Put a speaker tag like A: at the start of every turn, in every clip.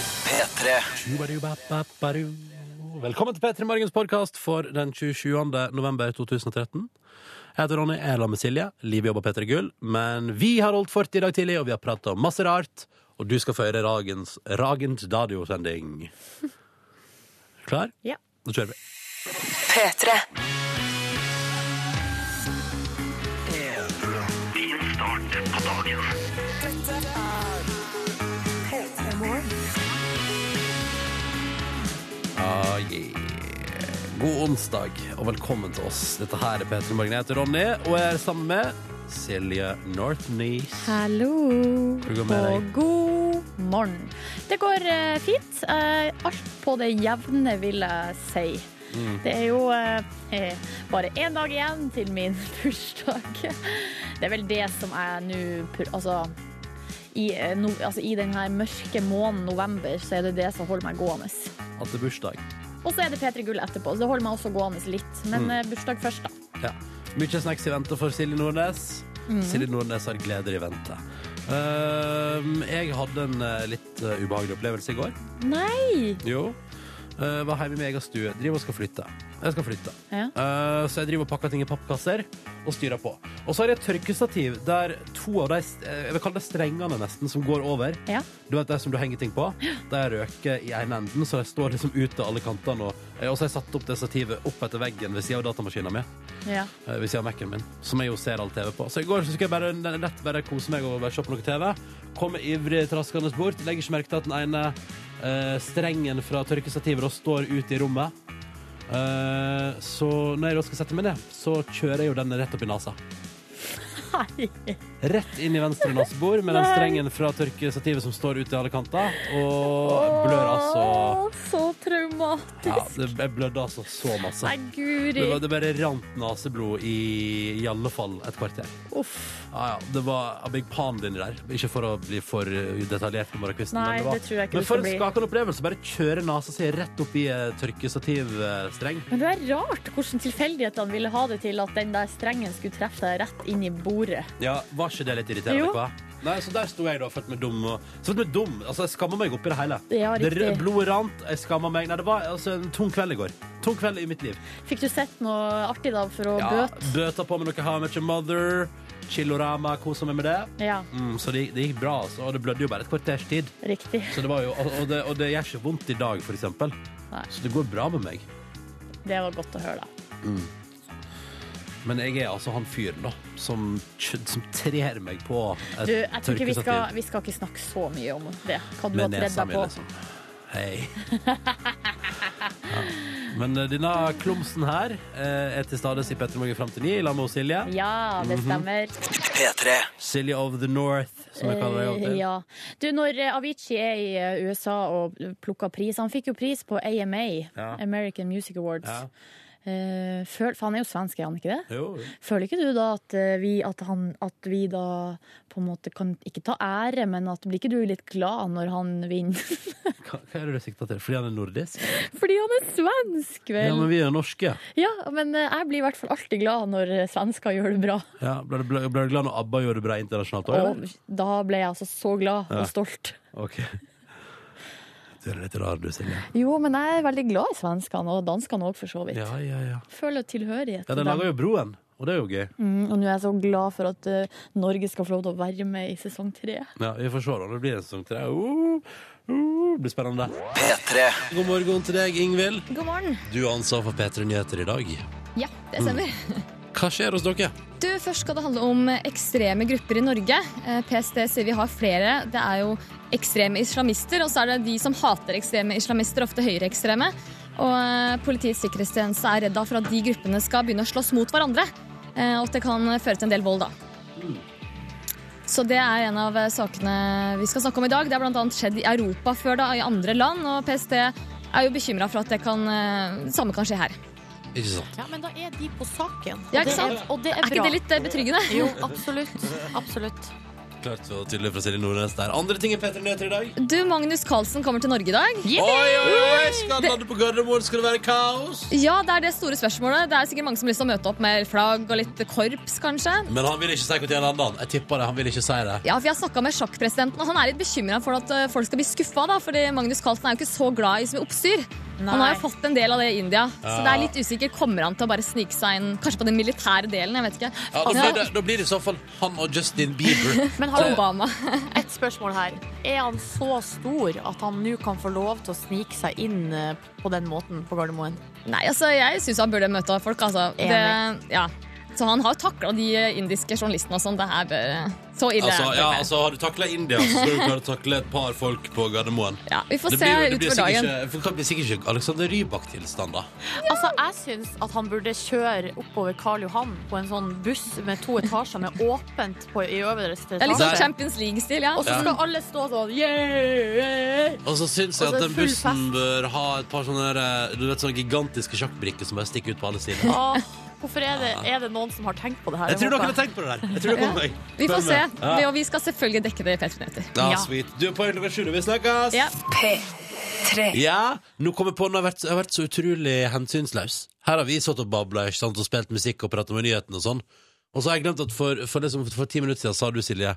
A: P3.
B: Tjubadubababadu. Velkommen til P3 Morgens podkast for den 27. november 2013. Jeg heter Ronny, jeg er sammen med Silje. Liv jobber P3 Gull. Men vi har holdt fort i dag tidlig, og vi har prata om masse rart. Og du skal få høre Ragens, Ragens radiosending. Klar?
C: Ja.
B: Da kjører vi.
D: P3.
B: Ah, yeah. God onsdag, og velkommen til oss. Dette her er P3 Morgen. Jeg heter Ronny, og jeg er sammen med Silje Northnees.
C: Hallo
B: det går med
C: og
B: deg?
C: god morgen. Det går eh, fint. Eh, alt på det jevne, vil jeg si.
B: Mm.
C: Det er jo eh, eh, bare én dag igjen til min bursdag. Det er vel det som jeg nå pur- Altså i, eh, no, altså, I den her mørke måneden november, så er det det som holder meg gående.
B: Hatt det bursdag.
C: Og så er det P3 Gull etterpå, så det holder meg også gående litt. Men
B: Mm.
C: eh, bursdag først, da.
B: Ja. Mye snacks i vente for Silje Nordnes. Silje Nordnes har gleder i vente. Ehm, jeg hadde en eh, litt eh, ubehagelig opplevelse i går.
C: Nei!
B: Jo. Eh, var hjemme i min egen stue. Driver og skal flytte. Jeg skal flytte.
C: Ja.
B: Eh, så jeg driver og pakker ting i pappkasser og styrer på. Og så har jeg et tørkestativ der to av de st- eh, jeg vil kalle det strengene nesten, som går over.
C: Ja.
B: Du vet det som du henger ting på? Det er røke i ene enden, så de står liksom ut til alle kantene. Og, eh, og så har jeg satt opp det stativet opp etter veggen ved siden av datamaskinen min
C: ja.
B: eh, ved siden av Mac-en min, som jeg jo ser all TV på. Så i går så skulle jeg bare n- lett bare kose meg og bare se på noe TV. Kommer ivrig traskende bort. Legger ikke merke til at den ene eh, strengen fra tørkestativet da står ut i rommet. Eh, så når jeg da skal sette meg ned, så kjører jeg jo den rett opp i nesa.
C: Nei.
B: Rett inn i venstre nasebor med den strengen fra tørkestativet som står ut i alle kanter. Og blør altså
C: Åh, Så traumatisk.
B: Ja, det, jeg blødde altså så masse.
C: Nei, guri.
B: Det, var, det bare rant naseblod i i alle fall et kvarter.
C: Uff.
B: Ja, ja, det var a big pond inni der. Ikke for å bli for uh, detaljert. på morgenkvisten,
C: Nei,
B: men det, var,
C: det tror jeg ikke
B: men
C: det
B: for
C: skal
B: en
C: bli.
B: skakende opplevelse. Bare kjøre nesa si rett opp i uh, tørkestativstreng.
C: Men det er rart hvordan tilfeldighetene ville ha det til at den der strengen skulle treffe deg rett inn i bordet.
B: Ja, var ikke det litt irriterende?
C: Jo.
B: Hva? Nei, så der sto jeg da og følte meg dum. Og, så følte meg dum. Altså, jeg skamma meg oppi det hele.
C: Ja,
B: det
C: riktig.
B: røde blodet rant, jeg skamma meg. Nei, det var altså, en tung kveld i går. Tung kveld i mitt liv.
C: Fikk du sett noe artig da for å bøte?
B: Bøta på med noe How I Met Your Mother. Chillorama, kosa meg med det.
C: Ja,
B: Mm, så det, det gikk bra, altså. Og det blødde jo bare et kvarters tid.
C: riktig.
B: Så det var jo, og, og det, og det gjør ikke vondt i dag, for eksempel.
C: Nei.
B: Så det går bra med meg.
C: Det var godt å høre, da.
B: Men jeg er altså han fyren da, som, kj- som trer meg på et
C: Du, jeg tror ikke vi skal,
B: tørkestativ
C: vi skal ikke snakke så mye om det. Hva du har
B: med
C: tredd
B: nesa
C: deg
B: mi,
C: på.
B: liksom. Hei. Ja. Men eh, denne klumsen her eh, er til stades i Petter Morgen fram til ni, i lag med Silje.
C: Ja,
B: Mhm.
C: det stemmer.
A: P3.
B: Silje of the North, som jeg kaller deg
C: Eh,
B: alltid.
C: Ja. Du, når eh, Avicii er i eh, USA og plukker pris Han fikk jo pris på AMA,
B: Ja.
C: American Music Awards.
B: Ja.
C: Eh, føl, for han er jo svensk, er han ikke det?
B: Jo, jo.
C: Føler ikke du da at eh, vi, at han, at vi da på en måte kan ikke ta ære, men at blir ikke du litt glad når han vinner?
B: Hva, hva er det du sikter til? Fordi han er nordisk?
C: Fordi han er svensk,
B: Ja,
C: vel?
B: men vi er norske.
C: Ja, men eh, jeg blir i hvert fall alltid glad når eh, svensker gjør det bra.
B: Ja, ble, du- ble, ble du glad når ABBA gjorde det bra internasjonalt også?
C: Og da ble jeg altså så glad
B: Ja.
C: og stolt.
B: Ok. Du er litt rar, du, Silje.
C: Jo, men jeg er veldig glad i svenskene, og danskene òg, for så vidt.
B: Ja, ja, ja.
C: Føler tilhørighet.
B: Ja,
C: til
B: den
C: dem.
B: lager jo broen, og det er jo gøy.
C: Mm, og nå er jeg så glad for at eh, Norge skal få lov til å være med i sesong tre.
B: Ja, Vi får se da. Det blir en sesong til det. Uh, uh, det blir spennende.
A: P3.
B: God morgen til deg, Ingvild.
E: God morgen.
B: Du har ansvar for P3 Nyheter i dag.
E: Ja, det stemmer.
B: Hva skjer hos dere?
E: Du, Først skal det handle om ekstreme grupper i Norge. Eh, PST sier vi har flere. Det er jo ekstreme islamister, og så er det de som hater ekstreme islamister, ofte høyreekstreme. Og eh, Politiets sikkerhetstjeneste er redd da for at de gruppene skal begynne å slåss mot hverandre. eh, Og at det kan føre til en del vold, da. Så det er en av eh, sakene vi skal snakke om i dag. Det har bl.a. skjedd i Europa før, da, i andre land. Og PST er jo bekymra for at det kan, eh, det samme kan skje her.
B: Ikke sant?
C: Ja, men da er de på saken.
E: Ja, ikke sant?
C: Og det
E: Er ikke det litt eh, betryggende?
C: Jo, absolutt. Absolutt.
B: Klart så tydelig fra Silje Nordnes der. Andre ting er Petter Nøtter i dag.
E: Du, Magnus Carlsen kommer til Norge i dag.
B: Oi, oi, oi! Skal han lande på Gardermoen? Skal det være kaos?
E: Ja, det er det store spørsmålet. Det er sikkert mange som har lyst til å møte opp med flagg og litt korps, kanskje.
B: Men han vil ikke si hvor til han lander. Jeg tipper det. Han vil ikke si det.
E: Ja, for jeg har snakka med sjakkpresidenten, og han er litt bekymra for at eh, folk skal bli skuffa, da, fordi Magnus Carlsen er jo ikke så glad i så mye oppstyr.
C: Nei.
E: Han har jo fått en del av det i India, så
B: Ja.
E: det er litt usikkert. Kommer han til å bare snike seg inn kanskje på den militære delen? Jeg vet ikke.
B: Ja, da,
E: Altså,
B: blir det, Eh. da blir det i så fall han og Justin Bieber.
C: Men har du
E: Obama.
C: et spørsmål her? Er han så stor at han nå kan få lov til å snike seg inn eh, på den måten på Gardermoen?
E: Nei, altså, jeg syns han burde møte folk, altså.
C: Enig.
E: Det, ja. Så han har takla de indiske journalistene og sånn. Det her bør Så ille.
B: Altså,
E: er det
B: ja,
E: ikke.
B: altså, har du takla India, så skal du klare å takle et par folk på Gardermoen.
E: Ja, vi får
B: Det
E: se
B: blir, jo- det blir
E: utover
B: sikkert
E: dagen.
B: ikke, for det blir sikkert ikke Alexander Rybak-tilstand, da.
C: Altså, Jeg syns at han burde kjøre oppover Karl Johan på en sånn buss med to etasjer med åpent på i øverste
E: Det er litt
C: etasje.
E: sånn Champions League-stil, ja.
C: Og så skal alle stå sånn yeah!
B: Og så syns jeg
C: Altså,
B: at den
C: full
B: bussen
C: fest.
B: bør ha et par sånne, der, eh, du vet, sånne gigantiske sjakkbrikker som bare stikker ut på alle sider.
C: Åh, Hvorfor er det, er det noen som har tenkt på det her?
B: Jeg tror
C: håper
B: dere har tenkt på det der. Jeg tror dere kommer meg.
E: Vi får
B: Følg
E: se.
B: med.
E: Det-
B: Ja.
E: Og vi skal selvfølgelig dekke det i P3 Nyheter.
B: Ja,
C: Ja.
B: sweet. Du er på klokka sju, og vi snakkes!
E: Ja.
A: P3
B: Ja, nå kommer jeg på den har vært, jeg har vært så utrolig hensynsløs. Her har vi satt og babla ikke sant, og spilt musikk og prata med nyhetene og sånn. Og så har jeg glemt at for, for, liksom, for ti minutter siden sa du, Silje,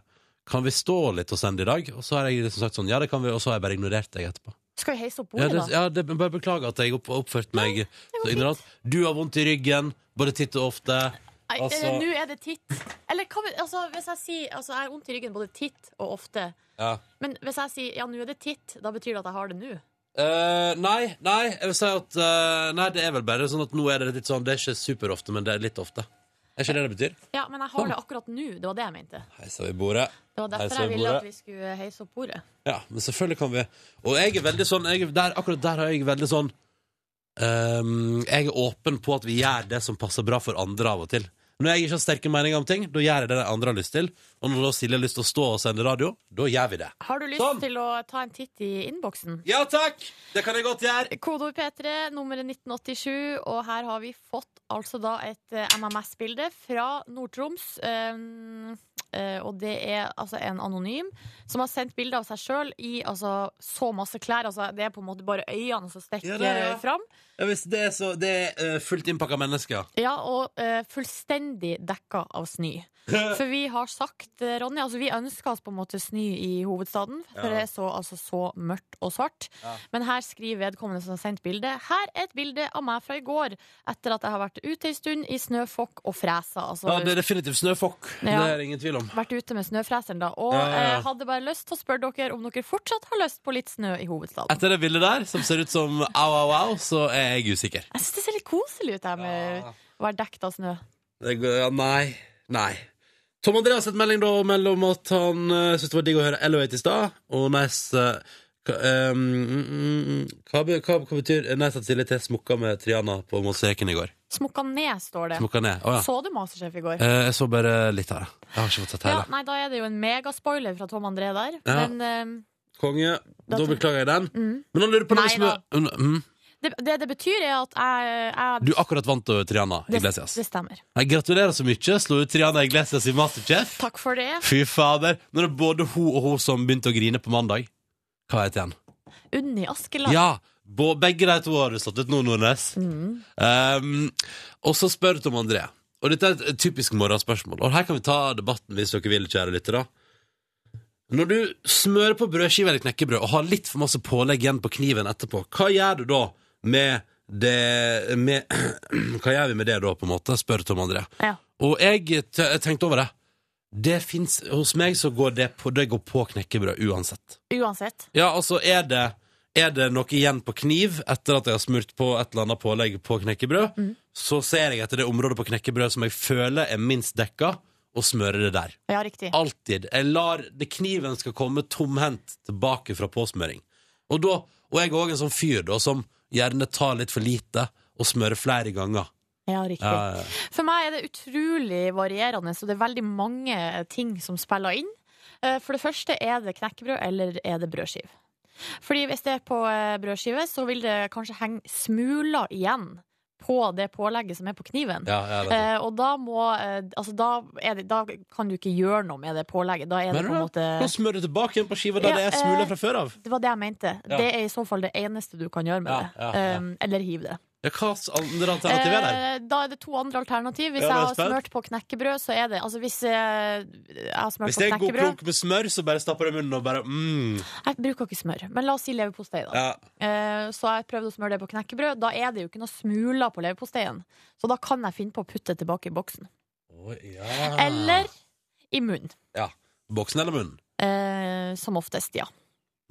B: kan vi stå litt og sende i dag? Og så har jeg liksom sagt sånn, ja det kan vi, og så har jeg bare ignorert deg etterpå.
C: Skal vi heise opp
B: Ja,
C: bordet,
B: det,
C: da?
B: ja, det, men bare beklager at jeg opp, oppførte meg så ignorant. Du har vondt i ryggen, både titt og ofte.
C: Nei, eh,
B: altså-
C: Nå er det titt. Eller hva, vil- altså, hvis jeg sier altså, Jeg har vondt i ryggen både titt og ofte.
B: Ja.
C: Men hvis jeg sier ja, nå er det titt, da betyr det at jeg har det nå.
B: Eh, nei, nei, jeg vil si at eh, Nei, det er vel bare sånn at nå er det litt sånn Det er ikke superofte, men det er litt ofte. Er ikke det det betyr?
C: Ja, men jeg har det akkurat nå. Det var det jeg mente.
B: Heiser vi bordet.
C: Det var
B: Heiser
C: derfor jeg
B: vi
C: ville
B: bordet.
C: at vi skulle heise opp bordet.
B: Ja, men selvfølgelig kan vi Og jeg er veldig sånn jeg, er- der, Akkurat der har jeg veldig sånn ehm, Jeg er åpen på at vi gjør det som passer bra for andre av og til Når jeg ikke har sterke meninger om ting Da gjør jeg det de andre har lyst til Og når da Silje har lyst til å stå og sende radio Da gjør vi det
C: Har du lyst
B: Sånn.
C: til å ta en titt i innboksen?
B: Ja takk, det kan jeg godt gjøre
C: Kodeord P3, nummeret 1987, og her har vi fått altså da et eh, MMS-bilde fra Nord-Troms. Um, eh, og det er altså en anonym som har sendt bilde av seg sjøl i altså, så masse klær. Altså, det er på en måte bare øynene som stikker
B: Ja, det er det, ja.
C: fram.
B: ja, hvis Det er, så, det er eh, fullt innpakket mennesker
C: Ja, og eh, fullstendig dekka av snø. For vi har sagt, eh, Ronny, altså vi ønsker oss på en måte snø i hovedstaden. For
B: Ja.
C: det er så, altså, så mørkt og svart.
B: Ja.
C: Men her skriver vedkommende som har sendt bildet. Her er et bilde av meg fra i går, etter at jeg har vært ute ei stund i snøfokk og fresa. Altså,
B: Ja, det er definitivt snøfokk Det
C: Ja.
B: er det ingen tvil om
C: Vært ute med snøfreseren, da. Og
B: Ja, ja, ja.
C: eh, hadde bare lyst til å spørre dere om dere fortsatt har lyst på litt snø i hovedstaden.
B: Etter det bildet der, som ser ut som au, au, au Så er jeg usikker
C: Jeg syns det ser litt koselig ut, det her med
B: Ja.
C: å være dekt av snø.
B: Det går, ja, nei. Nei. Tom André har sett melding da mellom at han uh, syntes det var digg å høre Elevate i stad, og Nice eh, hva, eh, mm, mm, mm, hva, be- hva, hva betyr eh, Nice at Silje T smokka med Triana på Mosaiken i går?
C: Smokka ned, står det.
B: Smokka ned. Å ja.
C: Så du Masterchef i går?
B: Eh, jeg så bare litt av det. Jeg har ikke fått sett
C: Ja,
B: hele.
C: nei, da er det jo en megaspoiler fra Tom André der.
B: Ja.
C: Men ehm,
B: Konge. Da
C: Da-
B: beklager jeg den.
C: Mm.
B: Men han lurer på noe
C: Nei
B: som er- mm, mm.
C: det, det det betyr, er at jeg, jeg
B: Du akkurat vant uh, Triana
C: det,
B: Iglesias.
C: det stemmer.
B: Jeg gratulerer så mye. Slo ut Triana Iglesias i Masterchef.
C: Takk for det.
B: Fy fader. Nå er det både hun og hun som begynte å grine på mandag. Hva heter han?
C: Unni Askeland.
B: Ja, bo- begge de to har du slått ut nå, Nordnes.
C: Mm.
B: Um, og så spør Tom André. Og dette er et typisk morgenspørsmål. Og her kan vi ta debatten hvis dere vil, kjære lyttere. Når du smører på brødskive eller knekkebrød og har litt for masse pålegg igjen på kniven etterpå, hva gjør du da med det med, Hva gjør vi med det da, på en måte? spør Tom André.
C: Ja.
B: Og jeg t tenkte over det. Det finnes, Hos meg så går det på, det går på knekkebrød uansett.
C: Uansett.
B: Ja, altså er det er det noe igjen på kniv etter at jeg har smurt på et eller annet pålegg på knekkebrød,
C: Mm.
B: så ser jeg etter det området på knekkebrød som jeg føler er minst dekka, og smører det der.
C: Ja, riktig.
B: Ah. Alltid. Jeg lar det kniven skal komme tomhendt tilbake fra påsmøring. Og, da, og jeg er òg en sånn fyr da, som gjerne tar litt for lite og smører flere ganger.
C: Ja, riktig.
B: Ja, ja, ja.
C: For meg er det utrolig varierende, og det er veldig mange ting som spiller inn. Eh, For det første, er det knekkebrød, eller er det brødskive? Fordi hvis det er på eh, brødskive, så vil det kanskje henge smuler igjen på det pålegget som er på kniven.
B: Ja, ja, det er sant.
C: Eh, og da må eh, Altså, da, er det, da kan du ikke gjøre noe med det pålegget. Da er det
B: Mener
C: på en
B: du det?
C: måte
B: Nå smører du tilbake igjen på skiva der
C: Ja,
B: det er
C: eh,
B: smuler fra før av.
C: Det var det jeg mente.
B: Ja.
C: Det er i så fall det eneste du kan gjøre med
B: Ja,
C: det.
B: ja, ja.
C: Um, eller hiv det.
B: Ja, hva slags andre alternativ er der?
C: Eh, da er det to andre alternativ. Hvis
B: Ja,
C: jeg
B: nå er
C: har
B: jeg spent.
C: smørt på knekkebrød, så er det Altså hvis eh, jeg har smørt
B: Hvis det er
C: på
B: en god
C: knekkebrød
B: klunk med smør, så bare stapper du i munnen og bare mm.
C: Jeg bruker ikke smør, men la oss si leverpostei, da.
B: Ja.
C: Eh, så jeg prøvde å smøre det på knekkebrød. Da er det jo ikke noe smuler på leverposteien. Så da kan jeg finne på å putte det tilbake i boksen.
B: Å, ja.
C: Eller i munnen.
B: Boksen eller munnen?
C: Eh, som oftest, ja.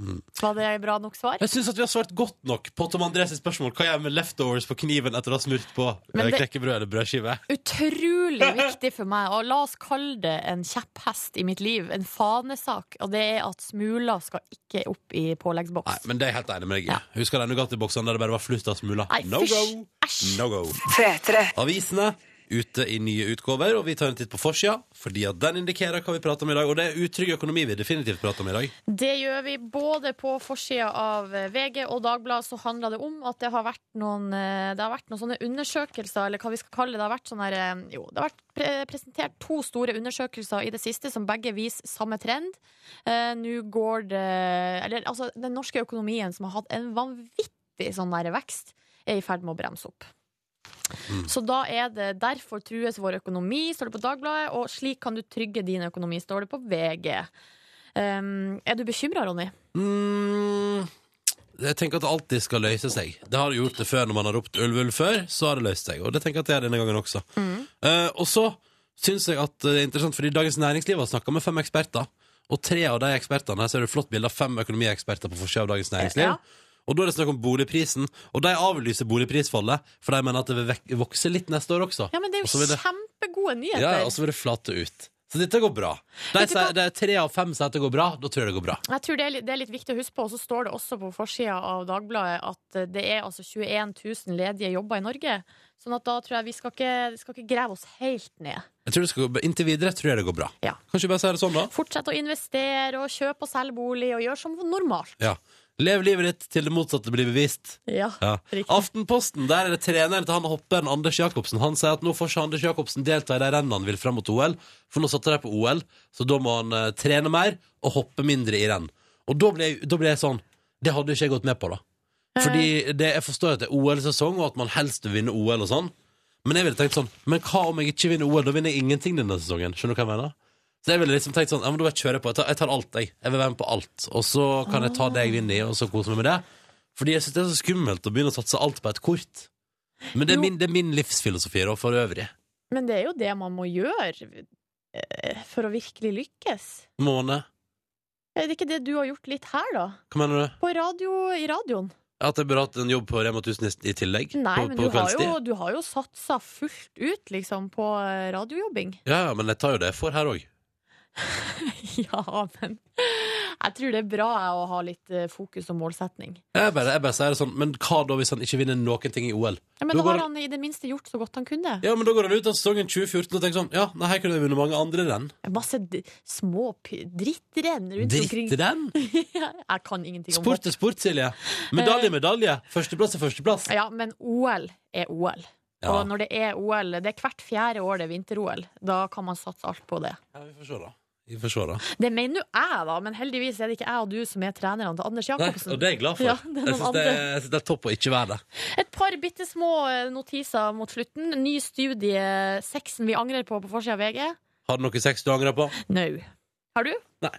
B: Mm.
C: Var det bra nok svar?
B: Jeg syns at vi har svart godt nok på Tom Andres spørsmål. Hva gjør jeg med leftovers på kniven etter å ha smurt på
C: Men
B: eh,
C: det-
B: knekkebrød eller brødskive?
C: Utrolig viktig for meg, og la oss kalle det en kjepphest i mitt liv, en fanesak, og det er at smuler skal ikke opp i
B: Nei,
C: påleggsboks.
B: men det er jeg helt enig med deg i.
C: Ja.
B: Husker den Nugatti-boksen der det bare var flust av smuler?
C: Nei,
B: No go!
C: fysj! Æsj!
B: No go!
A: P3.
B: Avisene ute i nye utgaver, og vi tar en titt på forsida, fordi at den indikerer hva vi prater om i dag. Og det er utrygg økonomi vi definitivt prater om i dag.
C: Det gjør vi både på forsida av eh, VG og Dagbladet, så handler det om at det har vært noen, eh, det har vært noen sånne undersøkelser, eller hva vi skal kalle det. Det har vært, sånne, her, eh, jo, det har vært pre presentert to store undersøkelser i det siste som begge viser samme trend. Eh, Nå går det Eller altså, den norske økonomien som har hatt en vanvittig sånn der vekst, er i ferd med å bremse opp. Så da er det 'derfor trues vår økonomi', står det på Dagbladet, og 'slik kan du trygge din økonomi', står det på VG. Um, er du bekymra, Ronny?
B: Mm, jeg tenker at det alltid skal løse seg. Det har det gjort det før når man har ropt ulv, ulv før, så har det løst seg. Og det tenker jeg at det er denne gangen også.
C: Mm.
B: Eh, og så syns jeg at det er interessant, fordi Dagens Næringsliv har snakka med fem eksperter, og tre av de ekspertene Her ser du et flott bilde av fem økonomieksperter på forsida av Dagens Næringsliv.
C: Ja.
B: Og da er det snakk om boligprisen, og de avlyser boligprisfallet, for de mener at det vil vek- vokse litt neste år også.
C: Ja, men det er
B: Og
C: jo
B: så vil det-
C: kjempegode nyheter.
B: Ja, og så vil det flate ut. Så dette går bra. De
C: Vet du
B: sier,
C: hva?
B: det er tre av fem sier at det går bra. Da tror jeg det går bra.
C: Jeg tror det er, litt, det er litt viktig å huske på, og så står det også på forsida av Dagbladet at eh, det er altså 21 000 ledige jobber i Norge. Sånn at da tror jeg vi skal ikke, skal ikke grave oss helt ned.
B: Jeg tror det skal gå, inntil videre tror jeg det går bra.
C: Ja.
B: Kanskje vi bare sier det sånn, da?
C: Fortsett å investere og kjøpe og selge bolig og gjøre som normalt.
B: Ja. Lev livet ditt til det motsatte blir bevist.
C: Ja,
B: Ja.
C: riktig.
B: Aftenposten, der er det treneren til han hopperen Anders Jacobsen. Han sier at nå får ikke Anders Jacobsen delta i de rennene han vil fram mot OL, for nå satte de på OL, så da må han eh, trene mer og hoppe mindre i renn. Og da ble, jeg- da ble jeg sånn Det hadde jo ikke jeg gått med på, da. Fordi det, jeg forstår at det er OL-sesong, og at man helst vil vinne OL og sånn. Men jeg ville tenkt sånn Men hva om jeg ikke vinner OL? Da vinner jeg ingenting denne sesongen. Skjønner du hva jeg mener? Så jeg ville liksom tenkt sånn Ja, men da bare kjører jeg på. Jeg tar, jeg tar alt, jeg. Jeg vil være med på alt. Og så kan jeg ta det jeg vinner i, og så kose meg med det. Fordi jeg syns det er så skummelt å begynne å satse alt på et kort. Men det
C: Jo.
B: er min, det er min livsfilosofi da, for øvrig.
C: Men det er jo det man må gjøre eh, for å virkelig lykkes.
B: Måne.
C: Er det ikke det du har gjort litt her, da?
B: Hva mener du?
C: På radio, I radioen?
B: At jeg burde hatt en jobb på Rema 1000 i- i tillegg?
C: Nei,
B: på,
C: men
B: på
C: du har,
B: kveldstid?
C: jo, du har jo satsa fullt ut, liksom, på eh, radiojobbing.
B: Ja, ja, men jeg tar jo det jeg får her òg.
C: ja, men jeg tror det er bra jeg, å ha litt eh, fokus og målsetning.
B: Jeg bare, jeg bare sier det sånn, men hva da hvis han ikke vinner noen ting i OL?
C: Ja, men
B: Da
C: da
B: går-
C: har han i det minste gjort så godt han kunne.
B: Ja, men da går han ut av sesongen 2014 og tenker sånn Ja, nei, her kunne jeg vunnet mange andre renn.
C: Masse d små p drittrenn rundt omkring.
B: Drittrenn!
C: jeg kan ingenting om
B: Sport er
C: det.
B: sport, Silje. Medalje,
C: Eh.
B: medalje. Førsteplass er førsteplass.
C: Ja, men OL er OL.
B: Ja,
C: Og når det er OL, det er hvert fjerde år det er vinter-OL, da kan man satse alt på det.
B: ja vi får se, da. Vi får se, da.
C: Det mener jo jeg, da, men heldigvis er det ikke jeg og du som er trenerne til Anders
B: Nei,
C: Jacobsen.
B: og det er jeg glad for.
C: Ja, det er
B: jeg syns
C: noen
B: det,
C: andre.
B: jeg synes det er topp å ikke være det.
C: Et par bitte små eh, notiser mot slutten. Ny studie, sexen vi angrer på på forsida av VG.
B: Har du noe sex du angrer på?
C: Nå. Har du?
B: Nei.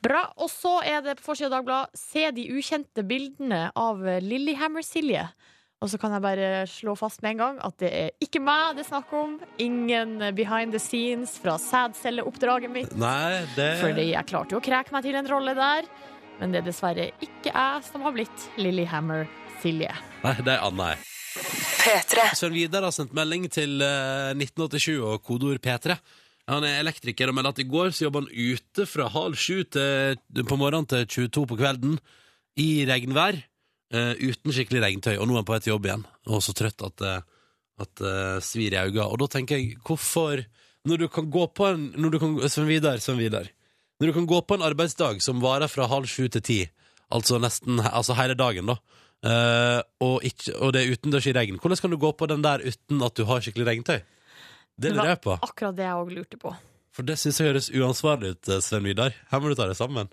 C: Bra. Og så er det på forsida av Dagbladet Se de ukjente bildene av Lillehammer-Silje. Og så kan jeg bare slå fast med en gang at det er ikke meg det er snakk om. Ingen behind the scenes fra sædcelleoppdraget mitt.
B: Nei, det
C: Fordi jeg klarte jo å kreke meg til en rolle der. Men det er dessverre ikke jeg som har blitt Lillehammer-Silje.
B: Nei, det er Anna, jeg.
A: P3.
B: Svein Vidar har sendt melding til eh, 1987 og kodeord P3. Han er elektriker og melder at i går så jobba han ute fra halv sju til, på morgenen til 22 på kvelden i regnvær. eh, uten skikkelig regntøy, og nå er han på vei til jobb igjen. Og så trøtt at det at, eh, svir i øynene. Og da tenker jeg, hvorfor Når du kan gå på en når du kan, Svein Vidar, Svein Vidar. Når du kan gå på en arbeidsdag som varer fra halv sju til ti, altså nesten altså hele dagen, da, Eh, og, ikke, og det er utendørs i regn. Hvordan kan du gå på den der uten at du har skikkelig regntøy? Det
C: var
B: lurer jeg på.
C: Akkurat det jeg òg lurte på.
B: For det syns jeg høres uansvarlig ut, eh, Sven Vidar. Her må du ta deg sammen.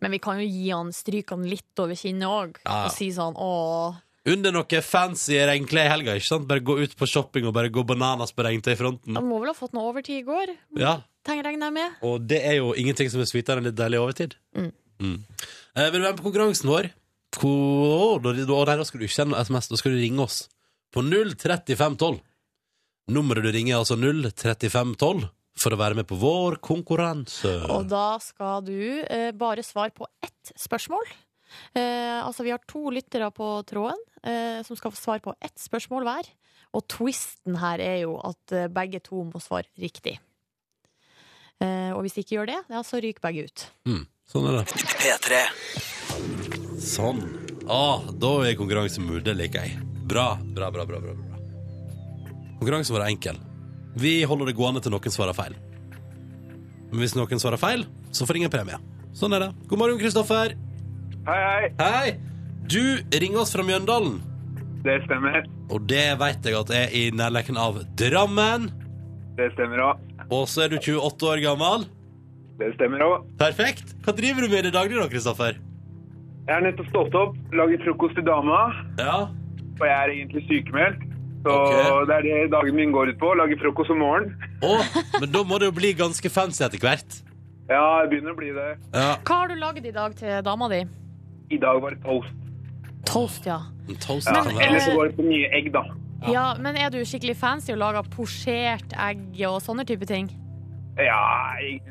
C: Men vi kan jo gi han stryke han litt over kinnet òg,
B: Ja.
C: og si sånn åh
B: Under noe fancy regnklær i helga, ikke sant? Bare gå ut på shopping og bare gå bananas på regntøyfronten.
C: Han må vel ha fått noe overtid i går?
B: Ja,
C: Tenk, regner jeg med.
B: Og det er jo ingenting som er sweetere enn litt deilig overtid.
C: Mm.
B: Mm. Eh, vil du være med på konkurransen vår? Ko- Da, da, da skal du ikke sende SMS, da skal du ringe oss på 03512. Nummeret du ringer er altså 03512 for å være med på vår konkurranse.
C: Og da skal du eh, bare svare på ett spørsmål. Eh, altså, vi har to lyttere på tråden eh, som skal få svare på ett spørsmål hver. Og twisten her er jo at eh, begge to må svare riktig. Eh, og hvis de ikke gjør det, ja, så ryker begge ut.
B: Mm. Sånn er det.
D: P3.
B: Sånn. Ah, da er konkurransemood. Det liker jeg. Bra, bra, bra. bra, bra, bra. Konkurransen vår er enkel. Vi holder det gående til noen svarer feil. Men hvis noen svarer feil, så får ingen premie. Sånn er det. God morgen, Kristoffer.
F: Hei, hei.
B: Hei! Du ringer oss fra Mjøndalen,
F: Det stemmer.
B: og det vet jeg at er i nærleken av Drammen.
F: Det stemmer òg.
B: Og så er du 28 år gammel.
F: Det stemmer òg.
B: Perfekt. Hva driver du med i det daglige da, Kristoffer?
F: Jeg har nettopp stått opp, laget frokost til dama,
B: Ja.
F: og jeg er egentlig sykemeldt. Så
B: Ok.
F: det er det dagen min går ut på. Lage frokost om morgenen.
B: Å, men da må det jo bli ganske fancy etter hvert.
F: Ja, jeg begynner å bli det.
B: Ja.
C: Hva har du lagd i dag til dama di?
F: I dag var det toast.
C: Toast, ja.
B: En toast
F: Ja.
B: kan
F: Eller
B: være
F: så går det på mye egg, da.
C: ja. Men er du skikkelig fancy og lager posjert egg og sånne type ting?
F: Ja jeg-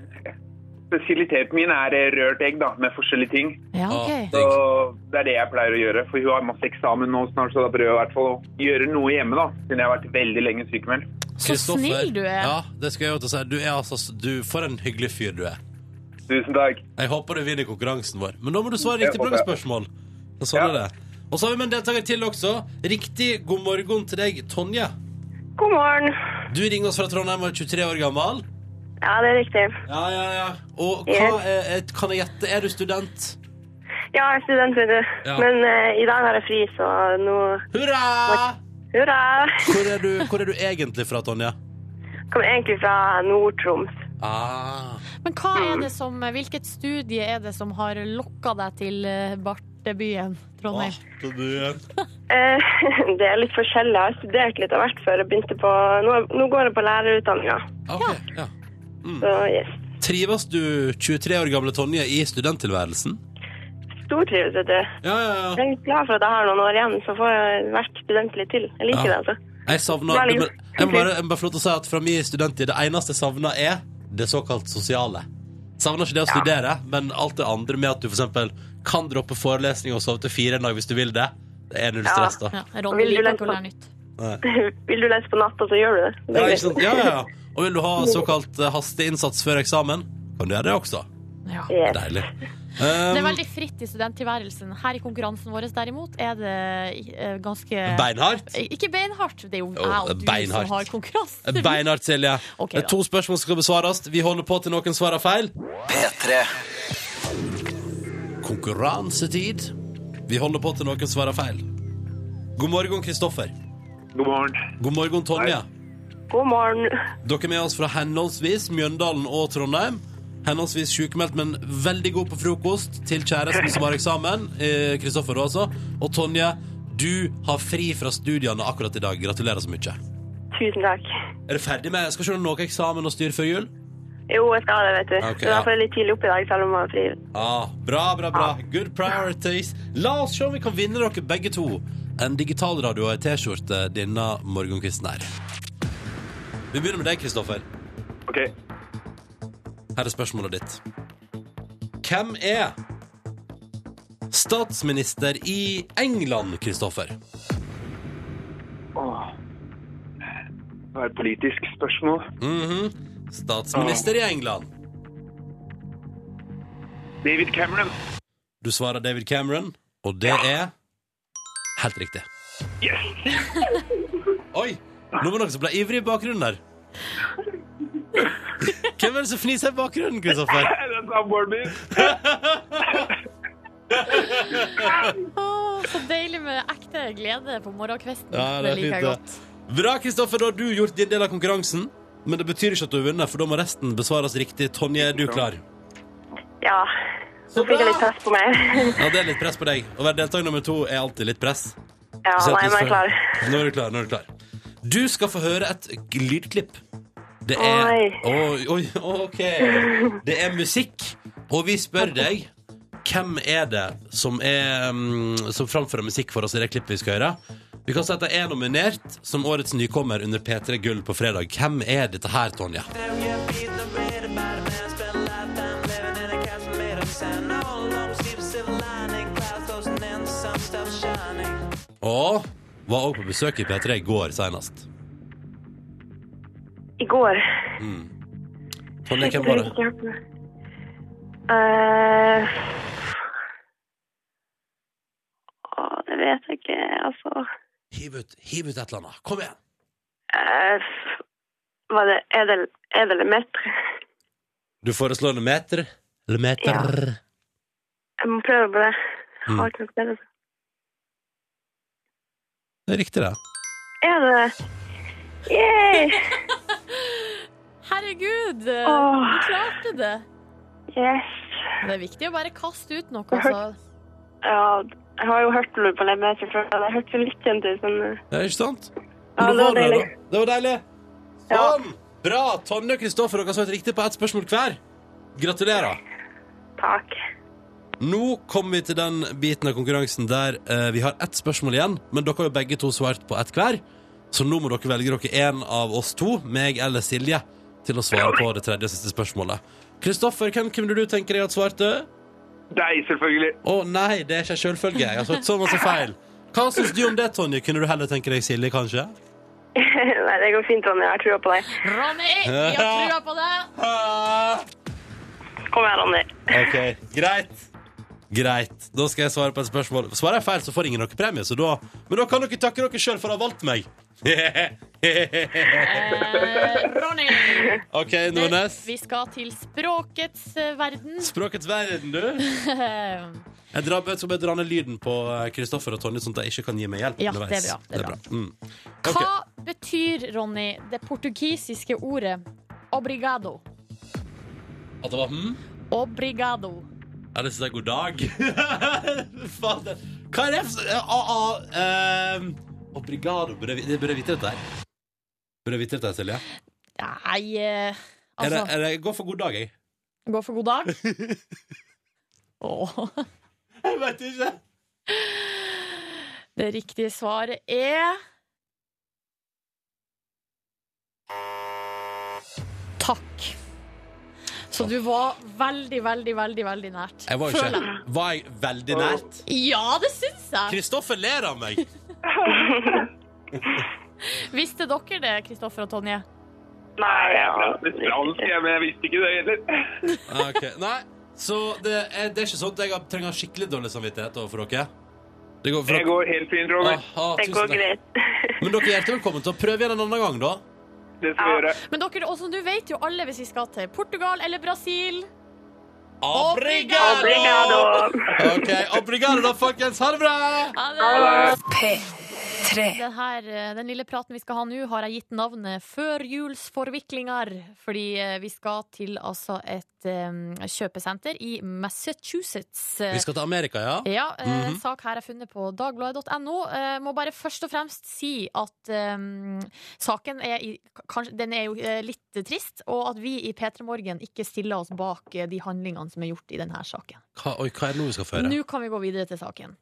F: Spesialiteten min er eh, rørt egg, da, med forskjellige ting.
B: Ja,
C: Ja, OK.
F: Så
B: digg.
F: det er det jeg pleier å gjøre. For hun har masse eksamen nå snart, så da prøver jeg i hvert fall å gjøre noe hjemme, da. Siden jeg har vært veldig lenge sykemeldt.
C: Så
B: Kristoffer,
C: snill du er.
B: Ja, det skal jeg jo til å si. Du er altså du, For en hyggelig fyr du er.
F: Tusen takk.
B: Jeg håper du vinner konkurransen vår. Men da må du svare
F: Jeg
B: riktig på
F: håper
B: noen
F: det.
B: spørsmål. Og Sånn
F: Ja.
B: er det. Og så har vi med en deltaker til også. Riktig god morgen til deg, Tonje.
G: God morgen.
B: Du ringer oss fra Trondheim og er 23 år gammel.
G: Ja, det er riktig.
B: Ja, ja, ja. Og hva
G: Yes.
B: er, er- kan jeg gjette? Er du student?
G: Ja, jeg er student, vet du.
B: Ja.
G: Men eh, i dag har jeg fri, så nå
B: Hurra!
G: Hurra!
B: Hvor er du, hvor er du egentlig fra, Tonje?
G: Kommer egentlig fra Nord-Troms.
B: Ah.
C: Men hva er det som, hvilket studie er det som har lokka deg til eh, Bartebyen, Trondheim?
B: Å, du-
G: Eh, det er litt forskjellig. Jeg har studert litt av hvert før jeg begynte på Nå, nå går jeg på lærerutdanninga,
B: Ok, ja. Mm.
G: så yes.
B: Trives du 23 år gamle Tonje i studenttilværelsen?
G: Stortrives, vet du.
B: Ja, ja,
G: Jeg er litt glad for at jeg har noen år igjen, så får jeg vært student litt til. Jeg
B: Ja.
G: liker det, altså.
B: Jeg savner
G: Bra liv.
B: du, men, Jeg må bare, jeg må bare få lov til å si at fra min studenttid, det eneste jeg savner, er det såkalt sosiale. Savner ikke det å studere, men alt det andre med at du for eksempel kan droppe forelesning og sove til fire en dag hvis du vil det. Det er null
G: Ja.
B: stress, da.
C: Ja, Ronny
G: Vil du
C: liker
G: lese
C: ikke å
G: på-
C: lære nytt.
G: Vil du lese på natta, så gjør du det. det
B: Ja,
G: er
B: ikke
G: greit.
B: sant? Ja, ja, ja. Og vil du ha såkalt eh, hasteinnsats før eksamen, kan du gjøre det også.
C: Ja.
G: Yes.
B: Deilig.
C: Det er
B: Um,
C: veldig fritt i studenttilværelsen. Her i konkurransen vår derimot er det eh, ganske
B: beinhardt.
C: Ikke beinhardt. Det er jo
B: Jo,
C: jeg og du
B: beinhardt.
C: som har konkurranse.
B: Beinhardt, Silje.
C: Ok,
B: Det er
C: da.
B: to spørsmål som skal besvares. Vi holder på til noen svarer feil.
D: P3.
B: Konkurransetid. Vi holder på til noen svarer feil. God morgen, Kristoffer.
F: God morgen.
B: God morgen, Tonje.
G: God morgen.
B: Dere er med oss fra henholdsvis Mjøndalen og Trondheim. Henholdsvis sykemeldt, men veldig god på frokost til kjæresten som har eksamen. eh, Kristoffer du altså. Og Tonje, du har fri fra studiene akkurat i dag. Gratulerer så mye.
G: Tusen takk.
B: Er du ferdig med Skal ikke du ha noe eksamen og styr før jul?
G: Jo, jeg skal det, vet du.
B: Ok,
G: Så
B: ja.
G: derfor er jeg litt tidlig oppe i dag, selv om jeg har fri.
B: Ah, bra, bra, bra. Good priorities. La oss se om vi kan vinne dere begge to en digitalradio og ei T-skjorte denne morgenkvisten her. Vi begynner med deg, Kristoffer.
F: OK.
B: Her er spørsmålet ditt. Hvem er statsminister i England, Kristoffer?
F: Åh. Det var et politisk spørsmål.
B: Mhm. Statsminister i England.
F: David Cameron.
B: Du svarer David Cameron, og det er helt riktig.
F: Yes!
B: Oi! Nå var det noen som ble ivrig i bakgrunnen der. Hvem er det som fniser i bakgrunnen, Kristoffer?
F: Det er samboeren min.
C: Åh, Så deilig med ekte glede på morgenkvisten.
B: Ja, det er
C: det liker jeg
B: fint,
C: godt.
B: Bra, Kristoffer, da har du gjort din del av konkurransen. Men det betyr ikke at du har vunnet, for da må resten besvares riktig. Tonje, er du klar?
G: Ja.
B: Så
G: Nå fikk jeg litt
B: bra!
G: press på meg.
B: Ja, det er litt press på deg. Å være deltaker nummer to er alltid litt press.
G: Ja,
B: Så at du
G: nei, men jeg er
B: får-
G: klar.
B: Nå er du klar. Nå er du klar. Du skal få høre et g- lydklipp. Det er
G: Oi.
B: Oi, oi, OK. Det er musikk, og vi spør deg hvem er det som, er, mm, som framfører musikk for oss i det klippet vi skal høre. Vi kan si at det er nominert som årets nykommer under P3 Gull på fredag. Hvem er dette her, Tonje? Og var også på besøk i P3 i går senest.
G: I går.
B: Tonje, Mm. hvem var
G: Jeg
B: det?
G: ikke hørt noe. Eh, å, det vet jeg ikke, altså.
B: Hiv ut, hiv ut et eller annet. Kom igjen.
G: Eh, var det Edel, Edelmetre?
B: Du foreslår en meter. Eller meter.
G: Jeg må prøve på det. Jeg
B: Mm.
G: Har ikke noe bedre. altså.
B: Det er riktig, det.
G: Er det det? Yay!
C: Herregud,
G: Åh.
C: du klarte det!
G: Yes.
C: Det er viktig å bare kaste ut noe.
G: Jeg
C: Altså.
G: Ja, jeg har jo hørt noe på Lemetre før. Det hørtes litt kjent ut, men eh,
B: Ja, ikke sant?
G: Ja,
B: Men
G: det var
B: da
G: deilig.
B: da. Det var deilig.
G: Ja.
B: Sånn! Bra! Tonje og Kristoffer, dere har svart riktig på ett spørsmål hver. Gratulerer.
G: takk.
B: Nå kommer vi til den biten av konkurransen der eh, vi har ett spørsmål igjen, men dere har jo begge to svart på ett hver. Så nå må dere velge dere en av oss to, meg eller Silje, til å svare på det tredje og siste spørsmålet. Kristoffer, hvem kunne du tenke deg at svarte?
F: Deg, selvfølgelig.
B: Å nei, det er ikke en selvfølge. Jeg har svart så masse feil. Hva syns du om det, Tonje? Kunne du heller tenke deg Silje, kanskje?
G: Nei, det går fint, Ronny. Jeg har trua på deg.
C: Ronny, jeg har trua på deg!
B: Ah!
G: Kom igjen, Ronny.
B: Ok, greit Greit, da skal jeg svare på et spørsmål Svarer jeg feil så får ingen noen premie så da... Men da kan dere takke dere selv for å ha valgt meg
C: Eh, Ronny!
B: Ok, Nordnes
C: Vi skal til språkets eh, verden.
B: Språkets verden, du
C: Eh,
B: Jeg drar, jeg skal bare dra ned lyden på eh, Kristoffer og Tonje Sånn at jeg ikke kan gi meg hjelp
C: Ja,
B: underveis.
C: det er bra, det er bra.
B: Mm. Ok.
C: Hva betyr, Ronny, det portugisiske ordet obrigado?
B: At det var hm?
C: Obrigado.
B: Ja, det synes jeg er god dag Fader. Hva er det? for- eh, ah, ah, ehm, Obrigado, burde jeg vi- det burde jeg vite dette her Burde jeg vite dette her, Silje
C: Nei, eh,
B: er det,
C: altså
B: er det, Gå for god dag, jeg
C: Gå for god dag. Åh.
B: Jeg vet ikke
C: Det riktige svaret er Takk. Så du var veldig, veldig, veldig veldig nært.
B: Jeg var jo ikke Var jeg veldig nært?
C: Ja, det syns jeg!
B: Kristoffer ler av meg!
C: Visste dere det, Kristoffer og Tonje?
G: Nei, ja.
F: Det er fransk, jeg, men jeg visste ikke det heller.
B: Ah, Ok, Nei, så det er, det er ikke sånn at jeg trenger skikkelig dårlig samvittighet overfor dere? Det går,
F: Det går helt fint, Ronny.
B: Aha,
G: Det
B: ah, tusen
G: går
B: takk.
G: greit.
B: Men dere er hjertelig velkommen til å prøve igjen en annen gang, da.
F: Det skal vi gjøre.
C: Men dere, og som du vet jo alle hvis vi skal til Portugal eller Brasil.
G: Obrigado.
B: Ok, Obrigado, da, folkens. Ha det bra!
C: Ha det!
A: P3.
C: Den, her, eh, den lille praten vi skal ha nå, har jeg gitt navnet Førjulsforviklinger. Fordi eh, vi skal til altså et eh, kjøpesenter i Massachusetts.
B: Vi skal til Amerika, ja?
C: Ja, eh,
B: Mhm.
C: sak her er funnet på dagbladet.no. Eh, må bare først og fremst si at eh, saken er, i, kanskje, den er jo eh, litt trist, og at vi i P3 Morgen ikke stiller oss bak eh, de handlingene som er gjort i denne saken.
B: Hva, oi, hva er det nå vi skal føre?
C: Nå kan vi gå videre til saken.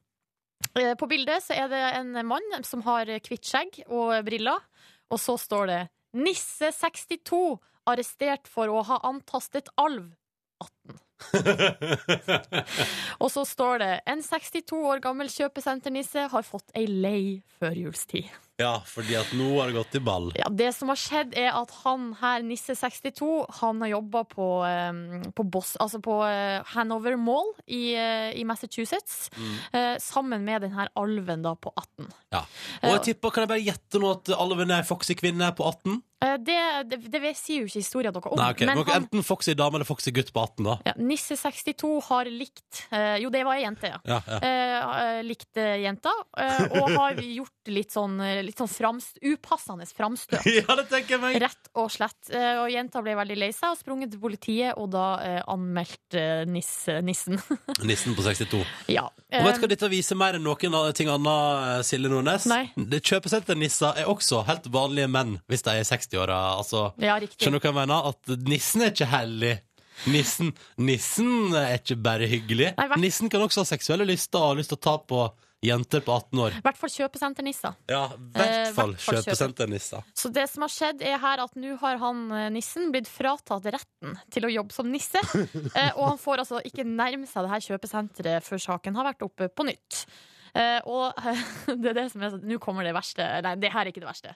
C: Eh, På bildet så er det en mann som har hvitt skjegg og briller, og så står det 'Nisse62 arrestert for å ha antastet alv'. Og så står det 'En 62 år gammel kjøpesenternisse har fått ei lei førjulstid'.
B: Ja, fordi at nå har det gått i ball.
C: Ja, det som har skjedd, er at han her, Nisse62, han har jobba på, eh, på, Boss, altså på eh, Hanover Mall i, eh, i Massachusetts, eh, sammen med den her alven da på 18.
B: Ja. Og jeg tipper, kan jeg bare gjette nå at alven er foxy kvinne på 18?
C: Eh, Det, det, det vet- sier jo ikke historien dere om.
B: Nei, ok.
C: Men
B: Dere er
C: han,
B: Enten foxy dame eller foxy gutt på 18, da.
C: ja, Nisse62 har likt eh, Jo, det var ei jente, ja.
B: Ja, ja.
C: Eh, eh, likte jenta, eh, og har gjort litt sånn, eh, litt sånn framst, upassende framstøt.
B: ja, det tenker jeg meg!
C: Rett og slett. Eh, Og jenta ble veldig lei seg og sprunget til politiet, og da eh, anmeldte eh, nisse, nissen.
B: Nissen på 62.
C: ja.
B: Og vet du hva dette viser mer enn noen av ting annet, eh, Silje Nordnes?
C: Nei.
B: Det kjøpesenter Nissa er også helt vanlige menn hvis de er i 60-åra. Altså,
C: Eh, Ja, riktig.
B: skjønner du hva jeg mener? At nissen er ikke hellig. Nissen, nissen er ikke bare hyggelig.
C: Nei, hva-
B: Nissen kan også ha seksuelle lyster og har lyst til å ta på jenter på 18 år.
C: I hvert fall kjøpesenternissa.
B: Ja, i
C: Eh,
B: hvert fall
C: hvert fall
B: kjøpesenter Nissa.
C: Så det som har skjedd, er her at nå har han eh, nissen blitt fratatt retten til å jobbe som nisse. Eh, Og han får altså ikke nærme seg det her kjøpesenteret før saken har vært oppe på nytt. Eh, og det er det som er sånn Nå kommer det verste. Nei, det her er ikke det verste.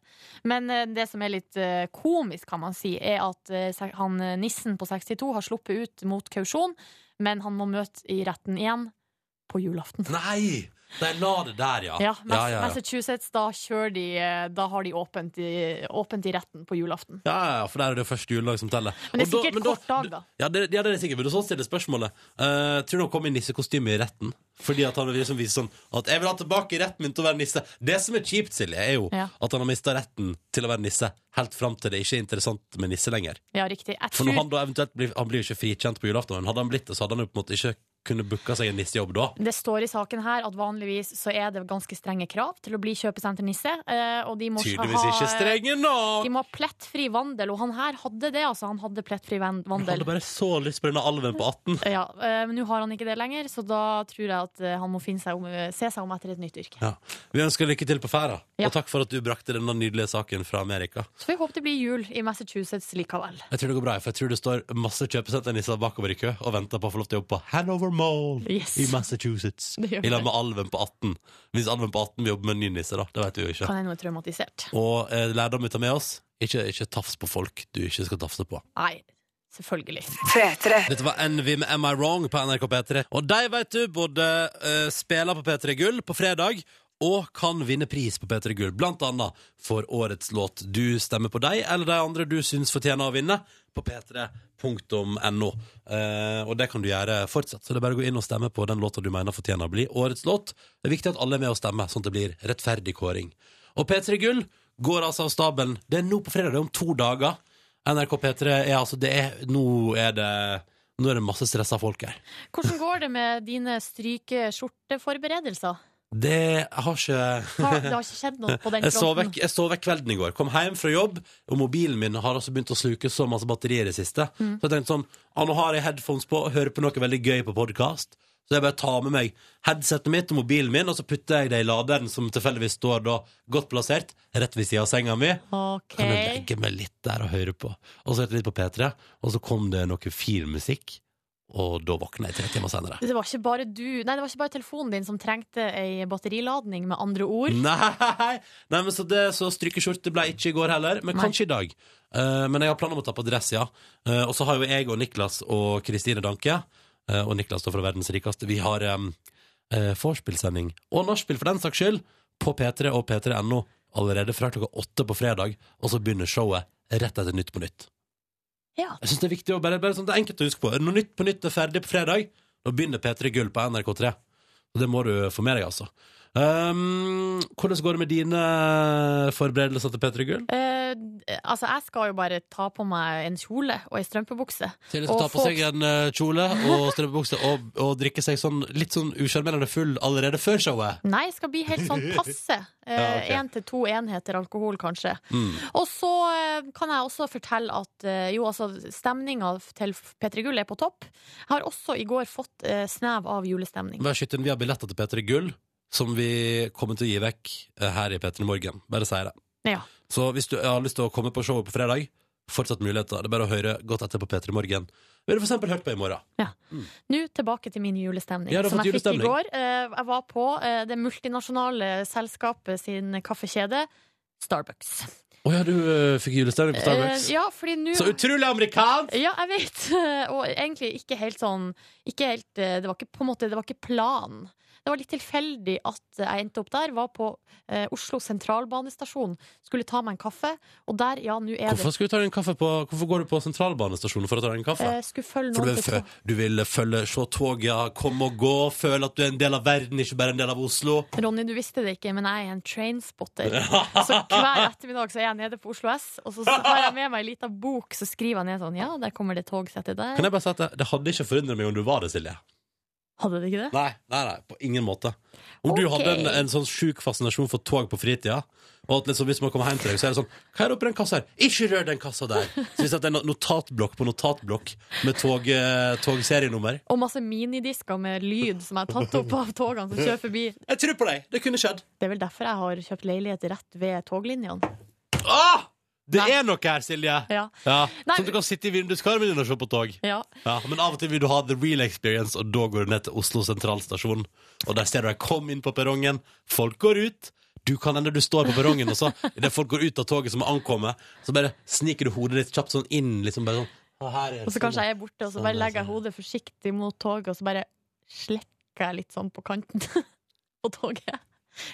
C: Men eh, det som er litt eh, komisk, kan man si, er at eh, se- han eh, nissen på 62 har sluppet ut mot kausjon, men han må møte i retten igjen på julaften.
B: Nei! De la det der, ja.
C: Ja, Mass
B: ja, ja, ja.
C: Massachusetts, da kjører de eh, Da har de åpent i, åpent i retten på julaften.
B: Ja, ja, for der er det jo første juledag som teller.
C: Men
B: Og
C: det er
B: da-
C: sikkert
B: men da-
C: kort dag, da.
B: Ja, det, ja, det er det sikkert. Men så stiller spørsmålet eh, Tror du han kom i nissekostyme i retten? Fordi at han vil liksom vise sånn at 'jeg vil ha tilbake retten min til å være nisse'. Det som er kjipt, Silje, er jo
C: Ja.
B: at han har mista retten til å være nisse helt fram til det ikke er interessant med nisse lenger.
C: Ja, riktig. Jeg
B: For når
C: tror
B: han da eventuelt blir, han blir jo ikke frikjent på julaften, men hadde han blitt det, så hadde han jo på en måte ikke kunne booka seg en nissejobb da.
C: det står i saken her at vanligvis så er det ganske strenge krav til å bli kjøpesenternisse. eh, Og de må
B: Tydeligvis ikke
C: eh,
B: strenge
C: De
B: nok!
C: må ha plettfri vandel, og han her hadde det, altså. Han hadde plettfri van-
B: Han hadde
C: vandel.
B: bare så lyst på denne alven på 18.
C: Ja, eh, Men nå har han ikke det lenger, så da tror jeg at eh, han må finne seg om, se seg om etter et nytt yrke.
B: Ja. Vi ønsker lykke til på ferda,
C: Ja.
B: og takk for at du brakte denne nydelige saken fra Amerika.
C: Så får vi håpe det blir jul i Massachusetts likevel.
B: Jeg tror det går bra, for jeg tror det står masse kjøpesenternisser bakover i kø og venter på å få lov til å jobbe på Hanover Mall
C: Yes.
B: i Massachusetts.
C: Det gjør
B: I lag med alven på 18. Hvis alven på 18 vil jobbe med en ny nisse, da. Det vet vi jo ikke.
C: Kan hende hun er traumatisert.
B: Og eh, lærdom vi tar med oss, ikke, ikke tafs på folk du ikke skal tafse på.
C: Nei, selvfølgelig.
A: P3.
B: Dette var Envy med Am I Wrong på NRK P3. Og de, vet du, både eh, spiller på P3 Gull på fredag og kan vinne pris på P3 Gull, blant annet for årets låt. Du stemmer på deg eller de andre du syns fortjener å vinne, på p3.no. Eh, og det kan du gjøre fortsatt. Så det er bare å gå inn og stemme på den låta du mener fortjener å bli årets låt. Det er viktig at alle er med og stemmer, sånn at det blir rettferdig kåring. Og P3 Gull går altså av stabelen. Det er nå på fredag, det er om to dager. NRK P3 er altså det er, Nå er det Nå er det masse stressa folk her.
C: Hvordan går det med dine stryke-skjorteforberedelser?
B: Det har ikke
C: Har- Det har ikke skjedd noe på den
B: jeg sov,
C: fronten?
B: vekk, jeg sov vekk kvelden i går. Kom hjem fra jobb, og mobilen min har altså begynt å sluke så masse batterier i det siste. Så jeg tenkte sånn ah, Nå har jeg headphones på og hører på noe veldig gøy på podkast. Så jeg bare tar med meg headsetet mitt og mobilen min, og så putter jeg det i laderen, som tilfeldigvis står da godt plassert, rett ved sida av senga mi.
C: Ok.
B: Kan jeg legge meg litt der og høre på? Og så hørte jeg litt på P3, og så kom det noe fin musikk, og da våkna jeg tre timer senere.
C: Det var ikke bare du Nei, det var ikke bare telefonen din som trengte ei batteriladning, med andre ord.
B: Mm. Nei! Nei, men Så, det- så strykeskjorte ble ikke i går heller, men
C: Nei.
B: kanskje i dag. Eh, men jeg har planer om å ta på dress, ja. Eh, og så har jo jeg og Niklas og Kristine Danke, eh, og Niklas står fra Verdens rikeste, vi har um, vorspielsending, og nachspiel for den saks skyld, på P3 og p3.no allerede fra klokka åtte på fredag, og så begynner showet rett etter Nytt på nytt.
C: Ja.
B: Jeg synes det er viktig å bare, bare sånn, det er enkelt å huske på. Er det noe nytt på nytt er ferdig på fredag, da begynner P3 Gull på NRK3. Så det må du få med deg, altså. Um, hvordan går det med dine forberedelser til P3 Gull?
C: Eh, altså, jeg skal jo bare ta på meg en kjole og ei strømpebukse.
B: Silje
C: Og
B: skal ta på
C: få-
B: seg en eh, kjole og strømpebukse og, og drikke seg sånn, litt sånn usjarmerende full allerede før showet.
C: Nei, jeg skal bli helt sånn passe.
B: Ja, ok.
C: Én til to enheter alkohol, kanskje.
B: Mm.
C: Og så eh, kan jeg også fortelle at eh, jo, altså, stemninga til P3 Gull er på topp. Jeg har også i går fått eh, snev av julestemning.
B: Vær skytten, vi har billetter til P3 Gull, som vi kommer til å gi vekk eh, her i P3 Morgen. Bare si det.
C: Ja.
B: Så hvis du har lyst til å komme på showet på fredag, fortsatt muligheter. Det er bare å høre godt etter på P3 Morgen. Vil du for eksempel hørt på i morgen?
C: Nå tilbake til min julestemning,
B: Ja, du har
C: som
B: fått
C: jeg fikk i
B: julestemning.
C: går. Eh, Jeg var på eh, det multinasjonale selskapet sin kaffekjede Starbucks.
B: Å ja, du eh, fikk julestemning på Starbucks.
C: Eh, ja, fordi nå
B: Så utrolig amerikansk!
C: Ja, jeg vet. Og egentlig ikke helt sånn ikke helt, eh, Det var ikke på en måte, det var ikke planen. Det var litt tilfeldig at jeg endte opp der. Var på eh, Oslo sentralbanestasjon. Skulle ta meg en kaffe, og der, ja, nå er
B: Hvorfor, skal du ta deg en kaffe på, hvorfor går du på sentralbanestasjonen for å ta deg en
C: det
B: kaffe?
C: eh, Skulle følge
B: For du
C: noen
B: vil,
C: til
B: fø- du vil følge, se toget komme og gå, føle at du er en del av verden, ikke bare en del av Oslo.
C: Ronny, du visste det ikke, men jeg er en trainspotter. Så hver ettermiddag så er jeg nede på Oslo S, og så har jeg med meg ei lita bok, så skriver jeg ned sånn Ja, der kommer det togsettet
B: Kan
C: der.
B: jeg bare si at det, det hadde ikke forundret meg om du var det, Silje.
C: Hadde det ikke det?
B: Nei, nei, nei, på ingen måte. Om du
C: Ok.
B: hadde en, en sånn sjuk fascinasjon for tog på fritida, og at liksom, hvis man kommer hjem til deg, så er det sånn Hva er det oppi den kassa her? Ikke rør den kassa der! Så hvis at det er no- notatblokk på notatblokk med tog, eh, togserienummer
C: Og masse minidisker med lyd som jeg har tatt opp av togene som kjører forbi.
B: Jeg tror på deg! Det kunne skjedd.
C: Det er vel derfor jeg har kjøpt leilighet rett ved toglinjene.
B: Ah! Det
C: Nei.
B: er noe her, Silje!
C: Ja.
B: Ja,
C: Nei,
B: Sånn at du kan sitte i vinduskarmen din og se på tog.
C: Ja.
B: Ja, Men av og til vil du ha the real experience, og da går du ned til Oslo sentralstasjon. Og der ser du deg kom inn på perrongen, folk går ut. Du kan hende du står på perrongen, og så idet folk går ut av toget som har ankommet, så bare sniker du hodet ditt kjapt sånn inn. liksom bare sånn «Å, her er
C: Og så kanskje jeg er borte, og
B: Sånn
C: så bare legger jeg hodet forsiktig mot toget, og så bare slekker jeg litt sånn på kanten på toget.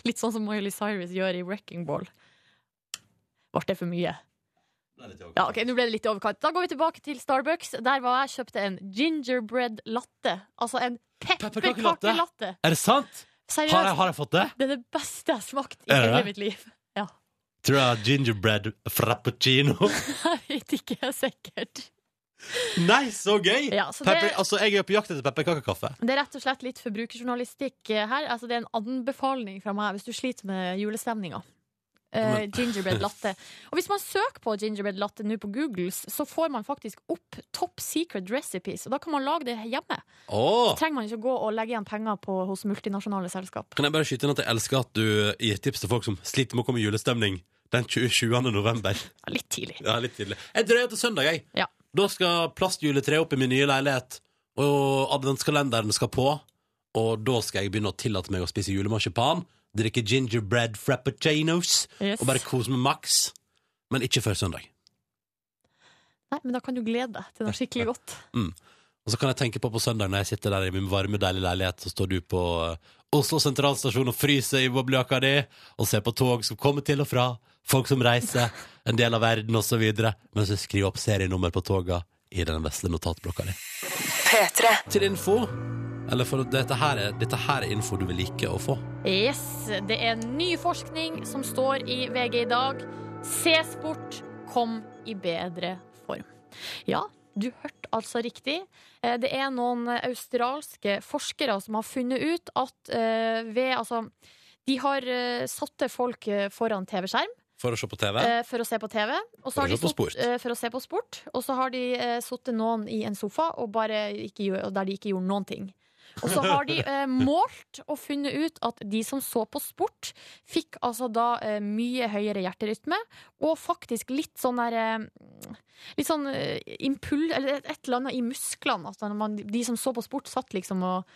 C: Litt sånn som Miley Cyrus gjør i Wrecking Ball. Ble det for mye? Ja, ok, nå ble det litt i overkant. Da går vi tilbake til Starbucks. Der var jeg kjøpte en gingerbread latte. Altså en
B: Pepperkakelatte?
C: pepperkakelatte.
B: Er det sant? Har jeg,
C: Seriøst.
B: har jeg fått det?
C: Det er det beste jeg har smakt i
B: Er det
C: hele
B: det?
C: mitt liv. Ja.
B: Tror jeg har gingerbread frappuccino.
C: Jeg vet ikke sikkert.
B: Nei, så gøy!
C: Ja, så
B: Pepper,
C: det-
B: altså, jeg er på jakt etter pepperkakekaffe.
C: Det er rett og slett litt forbrukerjournalistikk eh, her. Altså, det er en anbefaling fra meg hvis du sliter med julestemninga. Eh, gingerbread latte. Og hvis man søker på gingerbread latte nå på Googles, så får man faktisk opp top secret recipes. Og da kan man lage det hjemme.
B: Åh
C: Trenger man ikke gå og legge igjen penger på, hos multinasjonale selskap.
B: Kan jeg bare skyte inn at jeg elsker at du gir tips til folk som sliter med å komme i julestemning den 27. november.
C: Ja, litt tidlig.
B: Ja, litt tidlig. Jeg drøyer til søndag, jeg.
C: Ja.
B: Da skal plastjuletreet opp i min nye leilighet, og adventskalenderen skal på. Og da skal jeg begynne å tillate meg å spise julemarsipan, drikke gingerbread frappuccinos
C: Yes.
B: og bare kose meg maks. Men ikke før søndag.
C: Nei, men da kan du glede deg til noe skikkelig godt.
B: Og så kan jeg tenke på på søndag når jeg sitter der i min varme, deilige leilighet, så står du på eh, Oslo sentralstasjon og fryser i boblejakka di, og ser på tog som kommer til og fra, folk som reiser, en del av verden osv., mens du skriver opp serienummer på toga i den vesle notatblokka di.
A: P3.
B: Til info, eller for dette her, er, dette her er info du vil like å få.
C: Yes, det er ny forskning som står i VG i dag. C-sport kom i bedre form. Ja, du hørte altså riktig. Eh, Det er noen australske forskere som har funnet ut at eh, ved Altså, de har eh, satt til folk eh, foran TV-skjerm
B: For å se på TV.
C: eh, for å se på TV.
B: For
C: Og så har
B: å
C: de
B: se på
C: satt-
B: sport.
C: eh, for å se på sport. Og så har de eh, sittet noen i en sofa og bare ikke, gjør- og der de ikke gjorde noen ting. Og så har de eh, målt og funnet ut at de som så på sport, fikk altså da eh, mye høyere hjerterytme, og faktisk litt sånn der eh, Litt sånn eh, impuls Eller et, et eller annet i musklene. Altså når man, de som så på sport, satt liksom og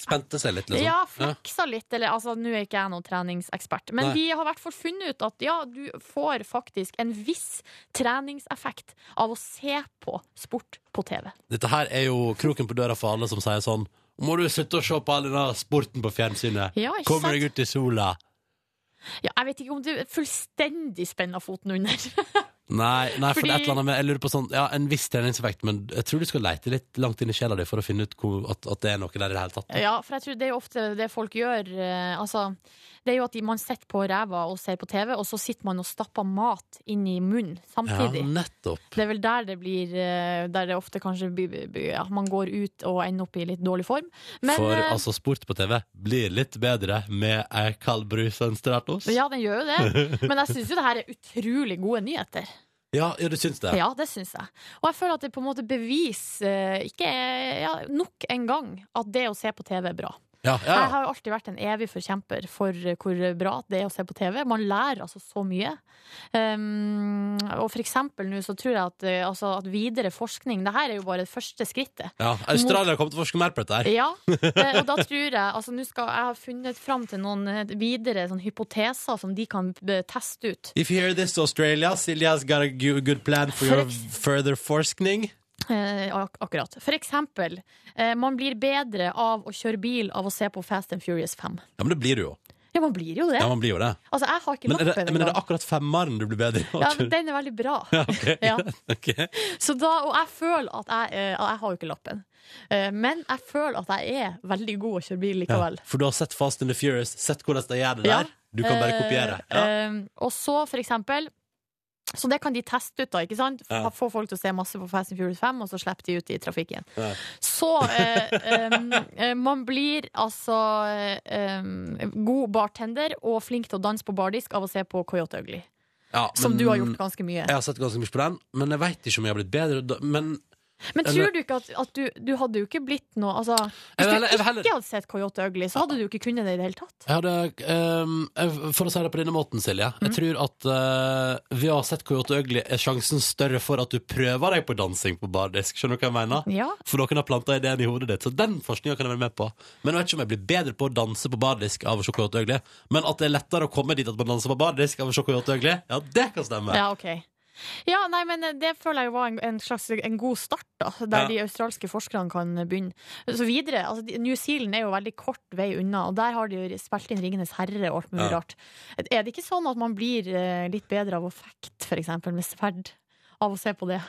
B: Spente seg litt, liksom.
C: ja, fleksa litt. Eller, altså, nå er ikke jeg noen treningsekspert, men
B: Nei.
C: de har i hvert fall funnet ut at ja, du får faktisk en viss treningseffekt av å se på sport på TV.
B: Dette her er jo kroken på døra for alle som sier sånn må du slutte å se på all denne sporten på fjernsynet?
C: Ja, ikke
B: Kom
C: sant?
B: deg ut i sola!
C: Ja, jeg vet ikke om du fullstendig spenner foten under.
B: Nei, nei for det er
C: Fordi-
B: et eller annet med Jeg lurer på sånn, ja, en viss treningseffekt Men jeg tror du skal leite litt langt inn i sjela di For å finne ut hvor, at, at det er noe der i det hele tatt
C: ja, for jeg tror det er jo ofte det folk gjør. Eh, altså, det er jo at de- man sitter på ræva og ser på TV, og så sitter man og stapper mat inn i munnen
B: Ja,
C: samtidig.
B: nettopp
C: Det er vel der det blir eh, Der det ofte kanskje by- by- by- ja, man går ut og ender opp i litt dårlig form. Men,
B: For
C: eh,
B: altså, sport på TV blir litt bedre Med ei kald brus og en stratos
C: Ja, den gjør jo det. Men jeg syns jo det her er utrolig gode nyheter.
B: ja, ja, du syns det
C: Ja, det syns jeg. Og jeg føler at det på en måte bevis eh, ikke er, ja, nok en gang at det å se på TV er bra.
B: Ja, ja.
C: Jeg har jo alltid vært en evig forkjemper for eh, hvor bra det er å se på TV. Man lærer altså så mye. Um, og for eksempel nå så tror jeg at, eh, altså, at videre forskning Det her er jo bare det første skrittet.
B: ja. Australia kommer til å forske mer på dette her.
C: Ja, eh, og da tror jeg altså Nå skal jeg ha funnet fram til noen eh, videre sånn, hypoteser som de kan eh, teste ut.
B: If you hear this, Australia, Silja's got a gu- good plan for your further forskning.
C: Eh, ak akkurat. For eksempel, eh, man blir bedre av å kjøre bil av å se på Fast and Furious 5.
B: Ja, men det blir du jo.
C: Ja, man blir jo det.
B: Ja, man blir jo det.
C: Altså, jeg har ikke
B: Men er
C: lappen
B: det, men er det
C: engang.
B: akkurat femmeren du blir bedre i?
C: Ja, men den er veldig bra. Ja.
B: Ok.
C: Så da, og jeg føler at jeg, eh, jeg har jo ikke lappen, Eh, men jeg føler at jeg er veldig god å kjøre
B: Ja.
C: bil likevel.
B: For du har sett Fast and the Furious, sett hvordan de gjør det
C: Ja.
B: der. Du kan bare
C: Eh,
B: kopiere. Ja.
C: eh, og så, for eksempel så det kan de teste ut, da. ikke sant? F-
B: Ja.
C: Få folk til å se masse på Fast and Furious 5, og så slipper de ut i trafikken.
B: Ja.
C: Så eh, em, eh, man blir altså eh, em, god bartender og flink til å danse på bardisk av å se på Coyote Ugly.
B: Ja,
C: Som
B: men-
C: du har gjort ganske mye.
B: Jeg har sett ganske mye på den, men jeg veit ikke om jeg har blitt bedre. da- Men
C: Men
B: Eller-
C: tror du ikke at, at du, du hadde jo ikke blitt noe altså,
B: Jeg
C: Hvis
B: vil heller- jeg
C: du
B: vil heller-
C: ikke hadde sett Coyote Ugly, så hadde du ikke kunnet det i det hele tatt.
B: jeg hadde, ehm, jeg- for å si det på denne måten, Silje.
C: Mm.
B: Jeg tror at eh, ved å ha sett Coyote Ugly er sjansen større for at du prøver deg på dansing på bardisk. Skjønner du hva jeg mener?
C: Ja.
B: For noen har planta ideen i hodet ditt. Så den forskninga kan jeg være med på. Men jeg vet ikke om jeg blir bedre på å danse på bardisk av å se Coyote Ugly. Men at det er lettere å komme dit at man danser på bardisk av å se Coyote Ugly, ja, det kan stemme.
C: Ja, ok ja, nei, men eh, det føler jeg jo var en, en slags en god start, da, der
B: Ja.
C: de australske forskerne kan begynne. Så videre, altså, de- New Zealand er jo veldig kort vei unna, og der har de jo spilt inn 'Ringenes herre' og alt mulig
B: Ja.
C: rart. Er det ikke sånn at man blir eh, litt bedre av å fekte, for eksempel, med sverd? Av å se på det?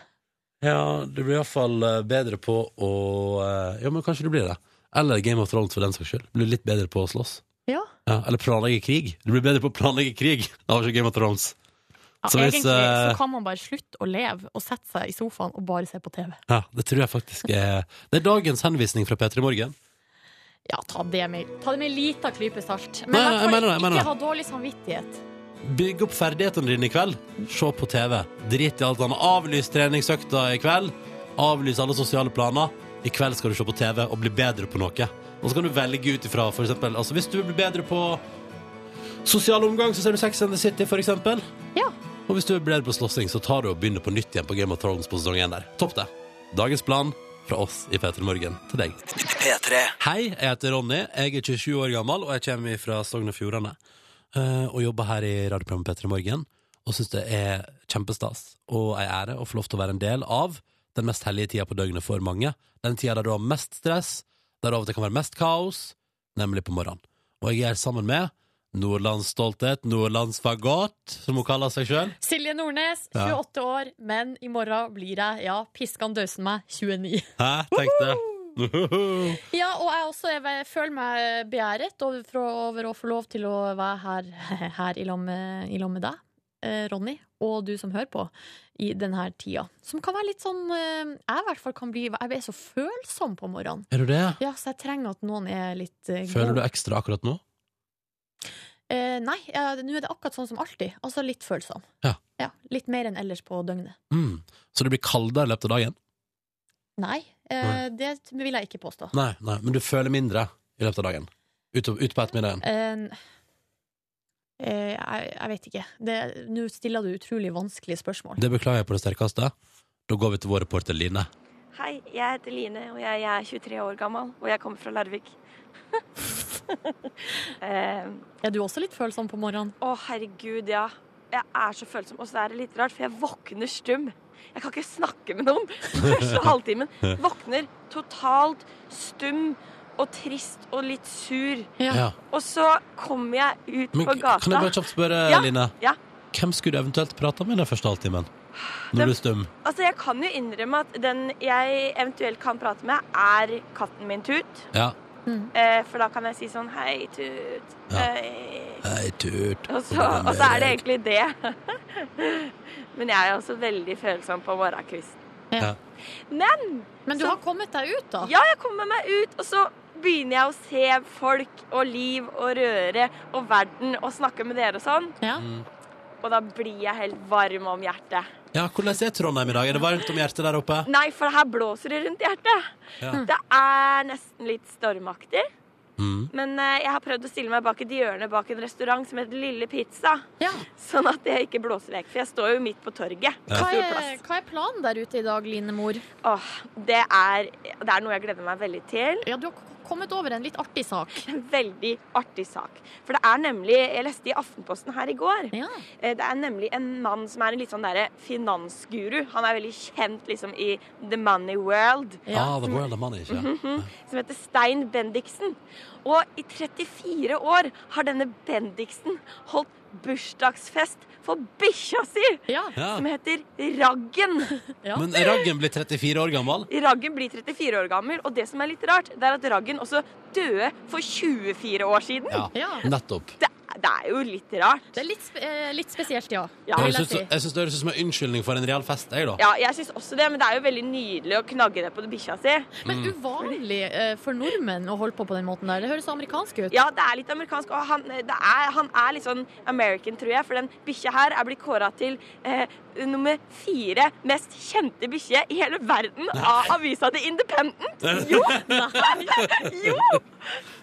B: Ja, du blir iallfall bedre på å eh, Ja, men kanskje du blir det. Eller Game of Thrones for den saks skyld. Du blir litt bedre på å slåss.
C: Ja.
B: Ja, eller planlegge krig. Du blir bedre på å planlegge krig. Det var ikke Game of Thrones.
C: ja
B: Så hvis,
C: egentlig
B: eh,
C: så kan man bare slutte å leve og sette seg i sofaen og bare se på TV.
B: Ja, Det tror jeg faktisk er Det er dagens henvisning fra P3 Morgen.
C: Ja, ta det med, ta det med en liten klype salt.
B: Nei,
C: Men
B: nei,
C: i
B: jeg
C: hvert fall
B: mener det, jeg mener det.
C: ikke ha dårlig samvittighet.
B: Bygg opp ferdighetene dine i kveld. Se på TV. Drit i alt annet. Avlys treningsøkta i kveld. Avlys alle sosiale planer. I kveld skal du se på TV og bli bedre på noe. Og så kan du velge ut ifra, for eksempel. Altså, hvis du vil bli bedre på sosial omgang, så ser du Sex and the City, for eksempel.
C: Ja.
B: Og hvis du er bedre på slåssing, så tar du og begynner på nytt igjen på Game of Thrones på sesong 1 der. Topp det. Dagens plan fra oss i P3 Morgen til deg. Hei, jeg heter Ronny. Jeg er 27 år gammel, og jeg kommer fra Sogn og Fjordane. eh, Og jobber her i radioprogrammet P3 Morgen. Og syns det er kjempestas og ei ære å få lov til å være en del av den mest hellige tida på døgnet for mange. Den tida der du har mest stress, der det av og til kan være mest kaos, nemlig på morgenen. Og jeg er sammen med Nordlandsstolthet, Nordlandsfagott, som hun kaller seg sjøl.
C: Silje Nordnes,
B: Ja.
C: 28 år, men i morgen blir jeg, ja, piskan dausen meg, 29.
B: Hæ, tenkte jeg.
C: Ja, og jeg også jeg, ve- føler meg begjæret over, fra, over å få lov til å være her, her i lag med, i lag med deg, eh, Ronny, og du som hører på, i denne tida. Som kan være litt sånn eh, Jeg i hvert fall kan bli Jeg er så følsom på morgenen.
B: Er du det?
C: Ja, så jeg trenger at noen er litt eh,
B: Føler
C: god.
B: du ekstra akkurat nå?
C: Eh, nei, eh, nå er det akkurat sånn som alltid. Altså litt følsom.
B: Ja.
C: litt mer enn ellers på døgnet.
B: Mm. Så det blir kaldere i løpet av dagen?
C: Nei, eh, det vil jeg ikke påstå.
B: Nei, nei, men du føler mindre i løpet av dagen? Ut, ut på ettermiddagen?
C: Eh, eh, jeg, jeg vet ikke. Det- Nå stiller du utrolig vanskelige spørsmål.
B: Det beklager jeg på det sterkeste. Da går vi til vår reporter Line.
D: Hei, jeg heter Line, og jeg, jeg er 23 år gammel, og jeg kommer fra Larvik. Eh,
C: Er du også litt følsom på morgenen?
D: Å, herregud, ja. Jeg er så følsom, og så er det litt rart, for jeg våkner stum. Jeg kan ikke snakke med noen første halvtimen. Våkner totalt stum og trist og litt sur.
B: Ja.
D: Og så kommer jeg ut
B: Men
D: på
B: k- kan jeg
D: gata.
B: bare kjapt spørre,
D: Ja,
B: Line?
D: ja.
B: Hvem skulle du eventuelt prata med den første halvtimen?
D: Det-
B: Når du er stum?
D: Altså, jeg kan jo innrømme at den jeg eventuelt kan prate med, er katten min Tut.
B: Ja.
D: Eh, for da kan jeg si sånn Hei, Tut. Eh,
B: Ja.
D: Hei.
B: Hei, tut.
D: Og, så, og så er det egentlig det. Men jeg er også veldig følsom på morgenkvisten.
B: Ja.
D: Men
C: Men du
D: Så-
C: har kommet deg ut, da.
D: ja, jeg kommer meg ut, og så begynner jeg å se folk og liv og røre og verden og snakke med dere og sånn.
C: Ja.
B: Mm.
D: Og da blir jeg helt varm om hjertet.
B: Ja, Hvordan er Trondheim i dag? Er det varmt om hjertet der oppe?
C: Hm.
D: Nei, for her blåser det rundt hjertet.
B: Ja.
D: Det er nesten litt stormaktig.
B: Mm.
D: Men eh, jeg har prøvd å stille meg bak et hjørne bak en restaurant som heter Lille Pizza.
C: Ja.
D: Sånn at jeg ikke blåser vekk, for jeg står jo midt på torget.
C: Hva,
D: Stor
C: er,
D: plass.
C: hva er planen der ute i dag, Line Mor?
D: Åh, det, er, det er noe jeg gleder meg veldig til.
C: Ja, du har k- kommet over en litt artig sak.
D: En veldig artig sak. For det er nemlig Jeg leste i Aftenposten her i går.
C: Ja.
D: Eh, Det er nemlig en mann som er en litt sånn derre finansguru. Han er veldig kjent liksom i the money world.
B: Ah, the world of money, ikke
D: Mhm. Som heter Stein Bendiksen. Og i 34 år har denne Bendiksen holdt bursdagsfest for bikkja si!
C: Ja.
B: ja.
D: Som heter Raggen.
C: Ja.
B: Men Raggen blir 34 år gammel.
D: Raggen blir 34 år gammel, og det som er litt rart, det er at Raggen også døde for 24 år siden.
B: Ja,
C: Ja.
B: nettopp.
D: Det, det er jo litt rart.
C: Det er litt, spe- eh, litt spesielt, ja.
D: Ja.
C: Det
B: Jeg
C: vil jeg
B: syns
C: si.
B: jeg syns det høres ut som en unnskyldning for en reell fest. Jeg, da.
D: Ja, jeg syns også det, men det er jo veldig nydelig å knagge det på bikkja si.
C: Men
B: Mm.
C: uvanlig eh, for nordmenn å holde på på den måten der. Det høres så amerikansk ut.
D: Ja, det er litt amerikansk, og han, det er, han er litt sånn American, tror jeg, for den bikkja her er blitt kåra til eh, nummer fire mest kjente bikkje i hele verden av avisa The Independent. Jo! jo!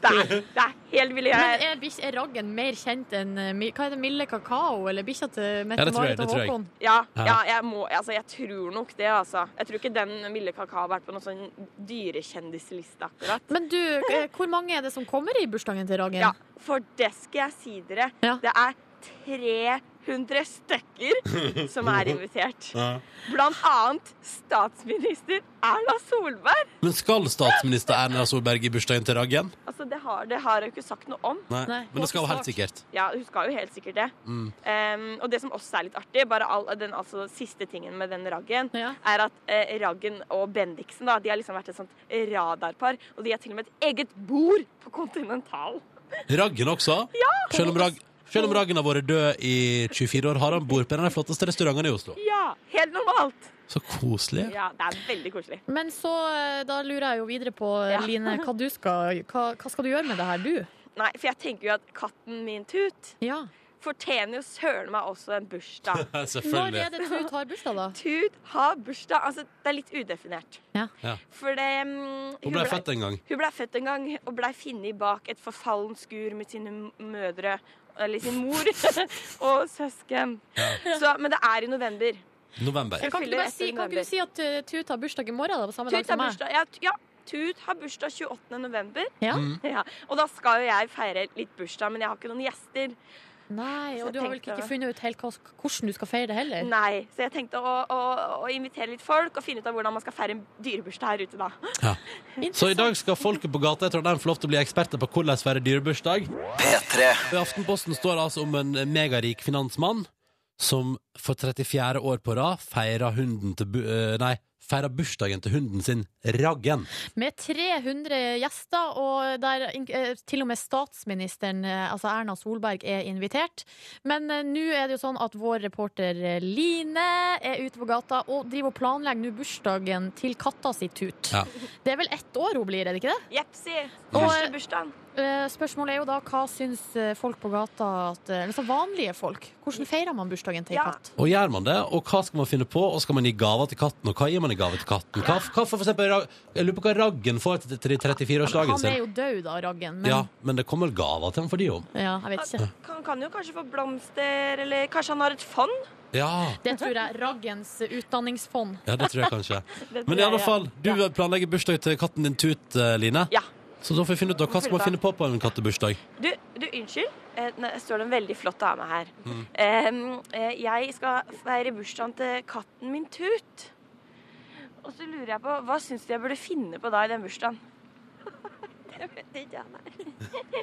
D: Det er, det er helt ville
C: Men
D: jeg
C: er, bikkj- er raggen mer kjent enn eh, mi- Hva er det, Milde Kakao eller bikkja til
B: Ja, det tror jeg,
C: Mette-Marit
B: det
C: og
B: tror jeg.
C: Håkon?
D: ja, ja, jeg må Altså, jeg tror nok det, altså. Jeg tror ikke den Mille Kaka har vært på noen sånn dyrekjendisliste, akkurat.
C: Men du, eh, hvor mange er det som kommer i bursdagen til Raggen?
D: Ja, for det skal jeg si dere.
C: Ja.
D: Det er 300 stykker som er invitert. Blant annet statsminister Erna Solberg.
B: Men skal statsminister Erna Solberg i bursdagen til Raggen?
D: Altså, det har, det har jeg jo ikke sagt noe om.
B: Nei.
C: Nei,
B: Men det skal hun helt
C: håper
B: sikkert.
D: Ja, hun skal jo helt sikkert det. Ehm, og det som også er litt artig, bare all, den altså, siste tingen med den raggen,
C: Ja.
D: er at eh, Raggen og Bendiksen da, de har liksom vært et sånt radarpar. Og de har til og med et eget bord på Continental.
B: Raggen også? Selv om, Rag selv om Raggen har vært død i 24 år, har han bord på en av de flotteste restaurantene i Oslo.
D: Ja, helt normalt.
B: Så koselig.
D: Ja, det er veldig koselig.
C: Men så, eh, da lurer jeg jo videre på, eh,
D: Ja.
C: Line, hva, du skal, hva, hva skal du gjøre med det her, du?
D: Nei, for jeg tenker jo at katten min Tut
C: Ja.
D: fortjener jo søren meg også en bursdag.
B: Ja,
C: Når
B: Selvfølgelig.
C: er det Tut har bursdag, da?
D: Tut har bursdag. Altså, det er litt udefinert.
C: Ja.
B: Ja.
D: For det mm,
B: Hun ble født en gang.
D: Hun ble født en gang og blei funnet bak et forfallen skur med sine m- mødre Eller sin mor og søsken. Så, men det er i november.
B: November.
D: Jeg
C: Kan ikke du
D: fyller
C: bare si,
D: etter
C: kan ikke
D: november.
C: du si at eh, Tut har bursdag i morgen, da? På samme dag
D: Tut har
C: som meg?
D: bursdag, ja, t- ja, Tut har bursdag 28. november.
C: Ja?
D: Ja, og da skal jo jeg feire litt bursdag, men jeg har ikke noen gjester.
C: Nei, og
D: Så jeg
C: du har vel
D: tenkte-
C: ikke funnet ut helt hva- hvordan du skal feire det heller?
D: Nei, Så jeg tenkte å, å, å invitere litt folk og finne ut av hvordan man skal feire en dyrebursdag her ute, da.
B: Ja. Så i dag skal folket på gata i Trondheim få lov til å bli eksperter på hvordan feire dyrebursdag. I Aftenposten står det altså om en megarik finansmann som for 34. år på rad feirer, hunden til, bu- eh, nei, feirer bursdagen til hunden sin, Raggen.
C: Med 300 gjester, og der ink- eh, til og med statsministeren, eh, altså Erna Solberg, er invitert. Men eh, nå er det jo sånn at vår reporter eh, Line er ute på gata og driver og planlegger nå bursdagen til katta si Tut.
B: Ja.
C: Det er vel ett år hun blir, er det ikke det?
D: Jepsi.
C: Og-
D: Første bursdagen.
C: Eh, Spørsmålet er jo da hva syns eh, folk på gata, at, eh, altså vanlige folk, hvordan feirer man bursdagen til
D: Ja.
C: katt?
B: Og gjør man det, og hva skal man finne på, og skal man gi gaver til katten, og hva gir man i gave til katten? Hva, hva for for eksempel, Ra- jeg lurer på hva Raggen får til 34-årsdagen
C: Han er
B: sin.
C: jo død da, Raggen, men ja.
B: Ja, men det kommer vel gaver til ham for de òg.
C: jeg vet ikke.
D: Han kan jo kanskje få blomster, eller kanskje han har et fond?
B: Ja,
C: Det tror jeg. Raggens eh, utdanningsfond.
B: ja, det tror jeg kanskje.
D: Det
B: Men
D: tror
B: i
D: jeg,
B: alle
D: ja.
B: fall, du
D: Ja.
B: planlegger bursdag til katten din Tut, eh, Line.
D: Ja.
B: Så da får vi finne ut da, hva skal man finne på på en kattebursdag.
D: Du, du unnskyld. Eh, Nå står det en veldig flott dame her.
B: Mm.
D: Em, eh, jeg skal feire bursdagen til katten min Tut. Og så lurer jeg på, hva syns du jeg burde finne på da i den bursdagen? Det vet ikke jeg, nei.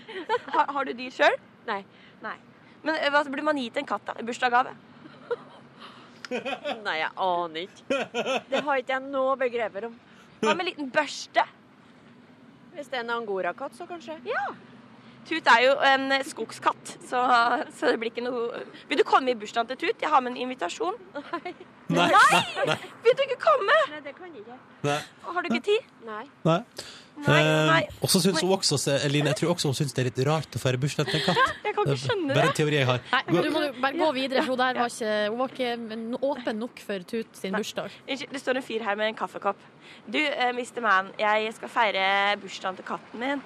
D: Har, har du dyr sjøl? Nei. nei. Men eh, hva burde man gi til en katt da, i bursdagsgave?
H: Nei, jeg aner ikke. Det har ikke jeg noe begreper om.
D: Hva med en liten børste?
H: Hvis det er en angorakatt, så kanskje.
D: Tut er jo en eh, skogskatt, så, så det blir ikke noe Vil du komme i bursdagen til Tut? Jeg har med en invitasjon.
B: Nei,
D: Vil du ikke komme?
H: Nei, det kan jeg ikke.
D: Har du ikke tid?
H: Nei.
B: nei.
D: Nei, nei.
B: Eh, og så syns hun også, se- Eline, jeg tror også hun syns det er litt rart å feire bursdag til en katt.
D: Jeg kan ikke skjønne
B: Bare
D: det.
B: en teori jeg har.
C: Nei, men du må jo bare gå videre, for hun der var ikke, hun var ikke n- åpen nok for Tut sin bursdag.
D: Unnskyld, det står en fyr her med en kaffekopp. Du, eh, Mr. Man, jeg skal feire bursdagen til katten min.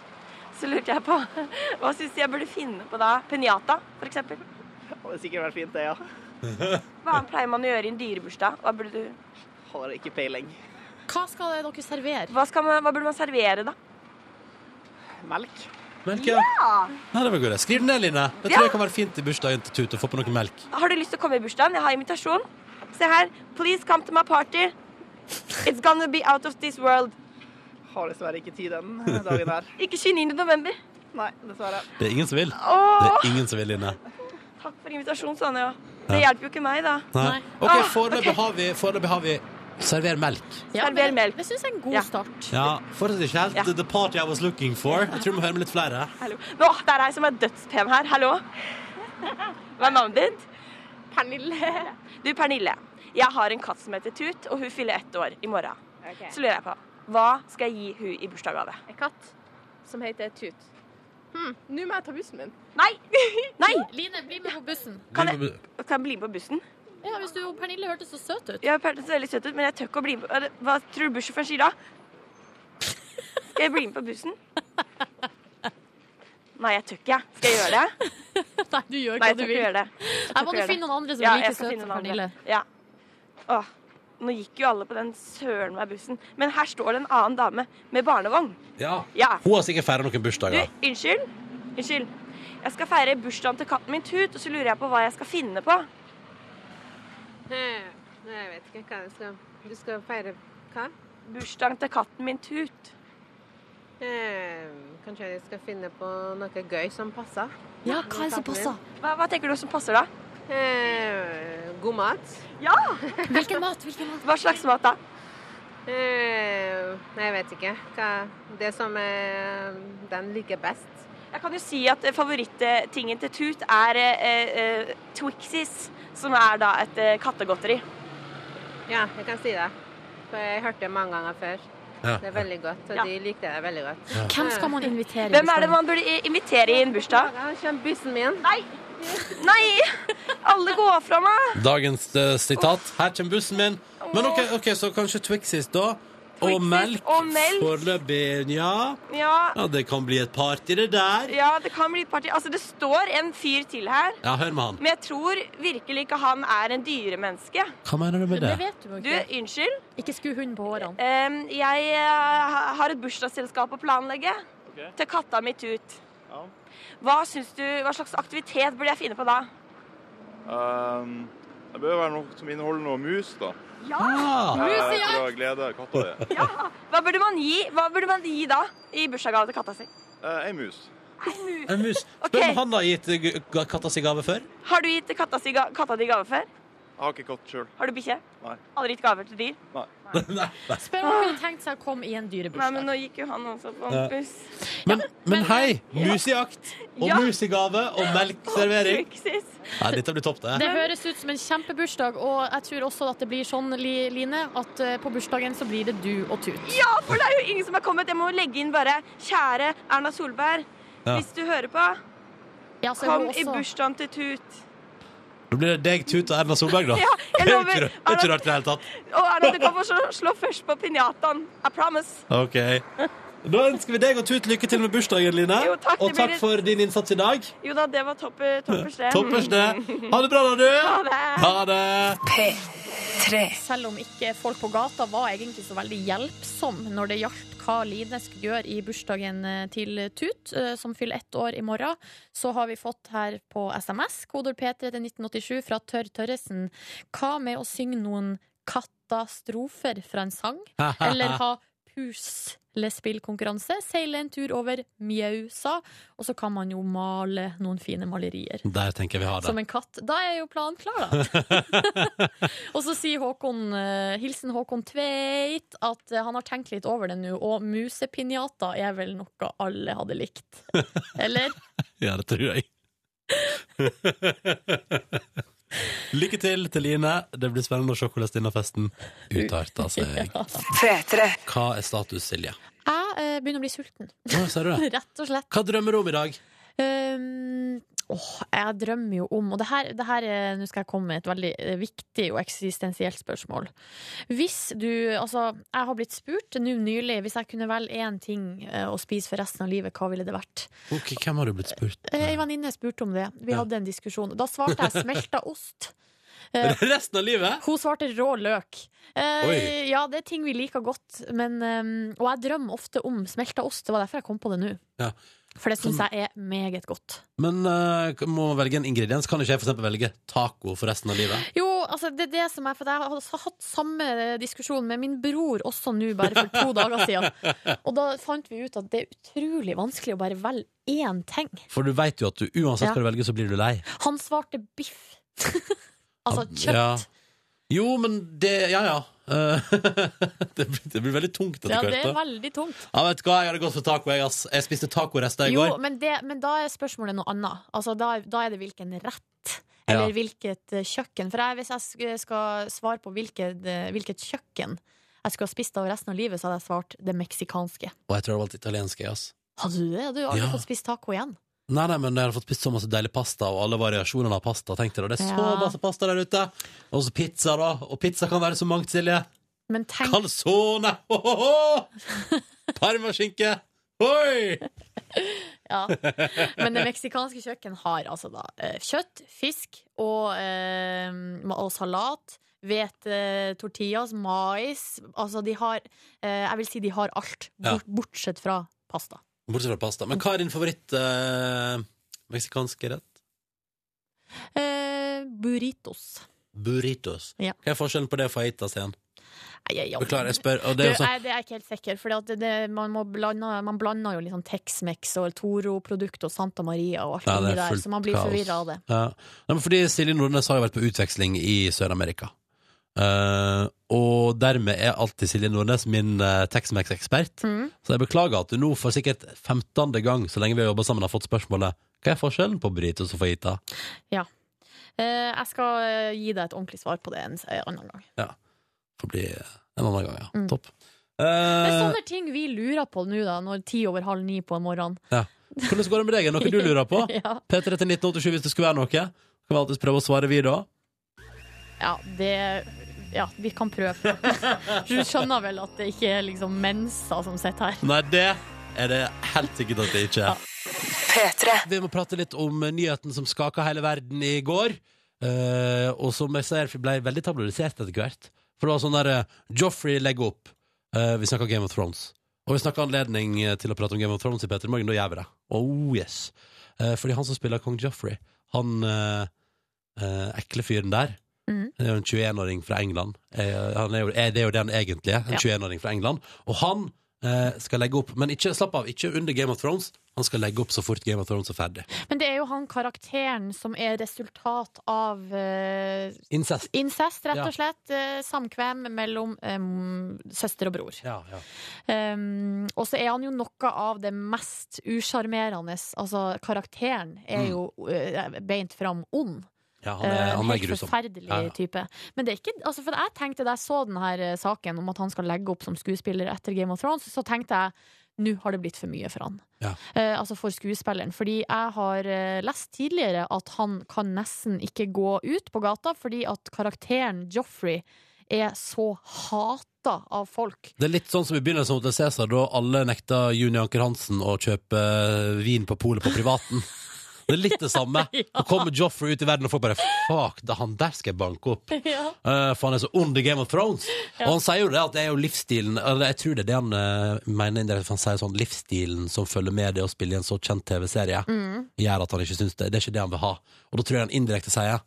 D: Så lurte jeg på Hva syns du jeg burde finne på da? Pinjata, f.eks.?
I: Det hadde sikkert vært fint, det, ja.
D: Hva annet pleier man å gjøre i en dyrebursdag? Hva burde, du,
I: Har ikke peiling.
C: Hva skal dere servere?
D: hva skal man, hva burde man servere, da?
I: Melk?
B: Melk, ja. Nei, det var god. Skriv den ned, Line. Det tror jeg kan være fint i bursdagen til Tute. å Få på noe melk.
D: Har du lyst til å komme i bursdagen? Jeg har invitasjon. Se her. Please come to my party. It's gonna be out of this world.
I: Har dessverre ikke tid den eh, dagen her.
D: Ikke 29. november.
I: Nei, dessverre.
B: Det er ingen som vil. Det
D: Åh,
B: er ingen som vil, Line.
D: takk for invitasjonen, Sonja. Det hjelper jo ikke meg, da.
B: Nei.
C: Nei.
B: OK,
D: Ah,
B: foreløpig har vi, foreløpig har vi Server melk.
C: Ja,
D: Server
C: men
D: melk.
C: Det syns jeg er en god
D: Ja.
C: start.
B: Ja, fortsatt ikke helt the party I was looking for. Jeg tror vi må høre med litt flere.
D: Hallo. Nå, det er ei som er dødspen her. Hallo. Hva er navnet ditt? Pernille. Du, Pernille. Jeg har en katt som heter Tut, og hun fyller ett år i morgen. Så lurer jeg på, hva skal jeg gi hun i bursdagsgave?
H: En katt som heter Tut. Hm, nå må jeg ta bussen min.
D: Nei! Nei!
C: Line, bli med på bussen.
D: Kan jeg, kan jeg bli med på bussen?
C: Ja, hvis du, Pernille hørtes så søt ut.
D: Jeg hørtes veldig søt ut, men jeg tør ikke å bli med. Er det- Hva tror du bussjåføren sier da? Skal jeg bli med på bussen? Nei, jeg tør ikke. jeg. Skal jeg gjøre det?
C: Nei, du gjør
D: Nei,
C: hva
D: jeg
C: du
D: tør ikke
C: vil.
D: gjøre det.
C: Her må
D: ikke
C: du
D: gjøre det.
C: finne noen andre som
D: Ja,
C: er
D: jeg
C: like
D: skal
C: søte
D: finne
C: som
D: en
C: Pernille.
D: annen. Ja. Åh, nå gikk jo alle på den søren meg bussen. Men her står det en annen dame med barnevogn.
B: Ja.
D: Ja.
B: Hun har sikkert feira noen
D: Du,
B: bursdager.
D: unnskyld. Unnskyld. Jeg skal feire bursdagen til katten min Tut, og så lurer jeg på hva jeg skal finne på.
H: Nei, jeg vet ikke hva jeg skal Du skal feire hva?
D: Bursdagen til katten min Tut.
H: kanskje jeg skal finne på noe gøy som passer?
C: Ja, hva er det som passer?
D: Hva, hva tenker du som passer da?
H: Eh, god mat.
D: Ja!
C: Hvilken mat? Hvilken mat?
D: Hva slags mat da?
H: Eh, Nei, jeg vet ikke. Hva, det som eh, den liker best.
D: Jeg kan jo si at eh, favorittingen til Tut er eh, eh, Twixies, som er da et eh, kattegodteri.
H: Ja, jeg kan si det. For jeg hørte det mange ganger før.
B: Ja.
H: Det er veldig godt, og
D: Ja.
H: de likte det veldig godt.
C: Hvem skal man invitere? i
D: Hvem er
C: bursdagen?
D: det man burde i- invitere i en bursdag?
H: Her kommer bussen min.
D: Nei! Nei! Alle går fra meg!
B: Dagens eh, sitat. Her kommer bussen min. Men OK, ok, så kanskje Twixies, da. Og
D: Twixies
B: melk.
D: og melk.
B: Foreløpig, ja.
D: Ja,
B: ja. Det kan bli et party, det der.
D: ja, det kan bli et party. Altså, det står en fyr til her,
B: Ja, hør med han.
D: men jeg tror virkelig ikke han er en dyremenneske.
B: Hva mener du med
C: Det
B: det?
C: vet du jo
D: Du,
C: ikke.
D: unnskyld.
C: Ikke sku hunden på hårene.
D: Em, jeg eh, ha- har et bursdagsselskap å planlegge til katta mi Tut.
J: Ja.
D: Hva, syns du, hva slags aktivitet burde jeg finne på da?
J: Ehm, det bør jo være noe som inneholder noe mus, da.
B: Ah,
J: Mus, ja! For å glede katta di.
D: Hva burde man gi, hva burde man gi da i bursdagsgave til katta si?
J: Eh, Ei mus.
B: en mus. Spør
D: Ok.
B: om han har gitt eh, g- katta si gave før.
D: Har du gitt katta, si, ga- katta di gave før?
J: Jeg har ikke katt sjøl.
D: Har du bikkje?
J: Nei.
D: Aldri gitt gaver til dyr?
B: Nei.
C: Spør om han kunne tenkt seg å komme i en
D: Nei, men
C: dyrebursdag.
D: nå gikk jo han også på
B: Ja.
D: en buss.
B: Men, men hei! Mus i akt, og
D: Ja.
B: mus i gave, og melkservering.
D: Suksis.
B: Nei, dette blir topp,
D: eh,
B: det.
C: Det høres ut som en kjempebursdag, og jeg tror også at det blir sånn, Li- Line, at eh, på bursdagen så blir det du og Tut.
D: Ja, for det er jo ingen som har kommet. Jeg må legge inn bare Kjære Erna Solberg.
B: Ja.
D: Hvis du hører på,
C: Ja, så er
D: kom
C: hun
D: i
C: også-
D: bursdagen til Tut.
B: Da blir det deg, Tut og Erna Solberg, da.
D: Ja,
B: Det
D: jeg
B: er
D: lover.
B: ikke rart- det er ikke rart i det hele tatt.
D: Og Erna, du kan få slå, slå først på pinjataen. I promise.
B: OK. Da ønsker vi deg og Tut lykke til med bursdagen, Line.
D: Jo, takk, det
B: og takk
D: blir et-
B: for din innsats i dag.
D: Jo da, det var topp, toppers, det.
B: Toppers, det. Ha det bra, da, du.
D: Ha det.
B: Ha det.
A: P3.
C: Selv om ikke folk på gata var egentlig så veldig hjelpsomme når det gjaldt hva Line skulle gjøre i bursdagen eh, til Tut, eh, som fyller ett år i morgen, så har vi fått her på SMS, kodord P3 til 1987 fra Tørr Tørresen, hva med å synge noen katastrofer fra en sang, eller ha puslespillkonkurranse, seile en tur over Mjausa, og så kan man jo male noen fine malerier.
B: Der tenker jeg vi har
C: Som
B: det.
C: en katt. Da er jo planen klar, da. og så sier Håkon, eh, hilsen Håkon Tveit at eh, han har tenkt litt over det nå, og musepinjata er vel noe alle hadde likt. Eller?
B: Ja, det tror jeg. Lykke til til Line. Det blir spennende å se hvordan denne festen utarter seg.
A: P3.
B: Hva er status, Silje?
C: Jeg eh, begynner å bli sulten,
B: Nå ser du det.
C: rett og slett.
B: Hva drømmer du om i dag?
C: Um, Åh, jeg drømmer jo om Og det her, det her er- nå skal jeg komme med et veldig eh, viktig og eksistensielt spørsmål. Hvis du Altså, jeg har blitt spurt nå nylig hvis jeg kunne velge én ting eh, å spise for resten av livet, hva ville det vært?
B: Ok, hvem har du blitt spurt?
C: Eh, Ei venninne spurte om det. Vi
B: Ja.
C: hadde en diskusjon. Da svarte jeg smelta ost. Eh,
B: Resten av livet?
C: Hun svarte rå løk.
B: Oi.
C: Eh, ja, det er ting vi liker godt, men, eh, og jeg drømmer ofte om smelta ost. Det var derfor jeg kom på det nå.
B: Ja.
C: For det syns
B: Sånn.
C: jeg er meget godt.
B: Men eh, må man velge en ingrediens? Kan ikke jeg for eksempel velge taco for resten av livet?
C: Jo, altså det er det som er For jeg har hatt samme diskusjon med min bror også nå, bare for to dager siden. Og da fant vi ut at det er utrolig vanskelig å bare velge én ting.
B: For du vet jo at du uansett hva
C: Ja.
B: du velger, så blir du lei.
C: Han svarte biff. altså kjøtt.
B: Ja. Jo, men det Ja, ja. Eh, det, blir, det blir veldig tungt etter
C: Ja,
B: hvert.
C: det
B: da.
C: er veldig tungt.
B: Ja, vet du hva, jeg hadde gått for taco, jeg, ass. Jeg spiste tacorester i
C: Jo,
B: går.
C: men, det, men da er spørsmålet noe annet. Altså, da, da er det hvilken rett. Eller
B: Ja.
C: hvilket eh, kjøkken. For jeg, hvis jeg sk- skal svare på hvilket, eh, hvilket kjøkken jeg skulle ha spist av resten av livet, så hadde jeg svart det meksikanske.
B: Og jeg tror jeg valgte italiensk, jeg, ass.
C: Hadde du det? Du har aldri
B: Ja.
C: fått spist taco igjen.
B: Nei, nei, men jeg hadde fått spist så masse deilig pasta og alle variasjonene av pasta. Tenk dere, det er så
C: Ja.
B: masse pasta der ute! Og så pizza, da. Og pizza kan være så mangt, Silje.
C: Men tenk
B: Calzone! Ho, ho, ho! Parmaskinke! Oi!
C: Ja. Men det meksikanske kjøkken har altså da eh, kjøtt, fisk og, eh, og salat. Hvete, tortillas, mais Altså, de har eh, Jeg vil si de har alt,
B: Ja.
C: bort, bortsett fra pasta.
B: Bortsett fra pasta. Men hva er din favoritt eh, meksikanske rett?
C: Eh, burritos.
B: Burritos.
C: Ja.
B: Hva er forskjellen på det og fajitas igjen?
C: Nei, jeg- jeg-
B: Beklager, jeg spør. Og
C: Du,
B: det er jo
C: nei,
B: sånn
C: det er jeg ikke helt sikker, for det, det, man, må blande, man blander jo litt sånn Tex-Mex og Toro-produkt og Santa Maria og alt
B: Ja,
C: det
B: det er
C: der,
B: fullt
C: så man blir
B: kaos.
C: forvirra av det.
B: Ja. Nei, men fordi Silje Nordnes har jo vært på utveksling i Sør-Amerika. Eh, og dermed er alltid Silje Nordnes min eh, Tex-Mex-ekspert.
C: Mm.
B: Så jeg beklager at du nå for sikkert 15. gang så lenge vi har jobba sammen, har fått spørsmålet Hva er forskjellen på burritos og fajita?
C: Ja. Eh, jeg skal eh, gi deg et ordentlig svar på det en s- en annen gang.
B: Ja. Får bli en annen gang, ja.
C: Mm. sånn-
B: Topp.
C: Det er
B: Eh,
C: sånne ting vi lurer på nå, da, når ti over halv ni på morgenen.
B: ja. Hvordan går det med deg? Er det noe du lurer på?
C: Ja.
B: P3 til 1987 hvis det skulle være noe. Kan vi alltids prøve å svare, vi da?
C: Ja, det Ja, vi kan prøve. Du skjønner vel at det ikke er liksom mensa som sitter her.
B: Nei, det er det helt sikkert at det ikke er.
A: P3.
B: Vi må prate litt om nyheten som skaka hele verden i går. eh, og som jeg ser ble veldig tabloidisert etter hvert. For det var sånn der eh, Joffrey legger opp. Eh, vi snakker Game of Thrones. Og vi snakker anledning eh, til å prate om Game of Thrones i Peter Morgen. Da gjør vi det. Oh yes. Eh, fordi han som spiller kong Joffrey, han eh, eh, ekle fyren der
C: Mhm.
B: det er jo en 21-åring fra England. Eh, han er jo, er, det er jo det han egentlig er. En
C: Ja.
B: 21-åring fra England. Og han eh, skal legge opp, men ikke, slapp av, ikke under Game of Thrones. Han skal legge opp så fort Game of Thrones er ferdig.
C: Men det er jo han karakteren som er resultat av eh,
B: Incest.
C: incest, rett
B: Ja.
C: og slett. Eh, samkvem mellom eh, søster og bror.
B: Ja, ja.
C: Um, og så er han jo noe av det mest usjarmerende. Altså, karakteren er
B: Mm.
C: jo eh, beint fram ond.
B: ja han er,
C: Eh,
B: han er
C: helt
B: grusom.
C: forferdelig
B: Ja, ja.
C: type. Men det er ikke, altså for jeg tenkte da jeg så denne her eh, saken om at han skal legge opp som skuespiller etter Game of Thrones, så tenkte jeg nå har det blitt for mye for han.
B: Ja.
C: Eh, altså for skuespilleren. Fordi jeg har eh, lest tidligere at han kan nesten ikke gå ut på gata fordi at karakteren Joffrey er så hata av folk.
B: Det er litt sånn som i begynnelsen mot Cæsar, da alle nekta Juni Anker Hansen å kjøpe eh, vin på polet på privaten. Det er litt det samme. Nå kommer Joffrey ut i verden, og folk bare Fuck, det er han der skal jeg banke opp.
C: Ja.
B: Eh, for han er så ond i Game of Thrones. Og han sier jo det, at det er jo livsstilen Eller jeg tror det er det han eh, mener indirekte, for han sier sånn livsstilen som følger med det å spille i en så kjent TV-serie, gjør at han ikke syns det. Det er ikke det han vil ha. Og da tror jeg han indirekte sier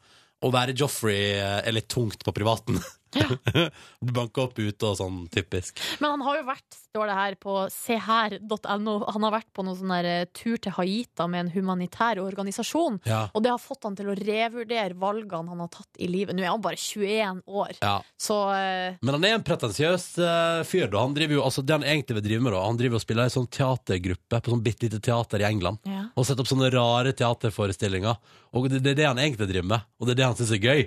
B: å være Joffrey eh, er litt tungt på privaten. du banker opp ute og sånn, typisk.
C: Men han har jo vært, står det her på seher.no, han har vært på noen sånn der, eh, tur til Haita med en humanitær organisasjon.
B: Ja.
C: Og det har fått han til å revurdere valgene han har tatt i livet. Nå er han bare 21 år.
B: Ja.
C: Så eh,
B: Men han er en pretensiøs eh, fyr. Da. Han driver jo, altså Det han egentlig vil drive med, da Han driver og spiller i en sånn teatergruppe på sånn bitte lite teater i England.
C: Ja.
B: Og setter opp sånne rare teaterforestillinger. Og det, det er det han egentlig driver med, og det er det han syns er gøy.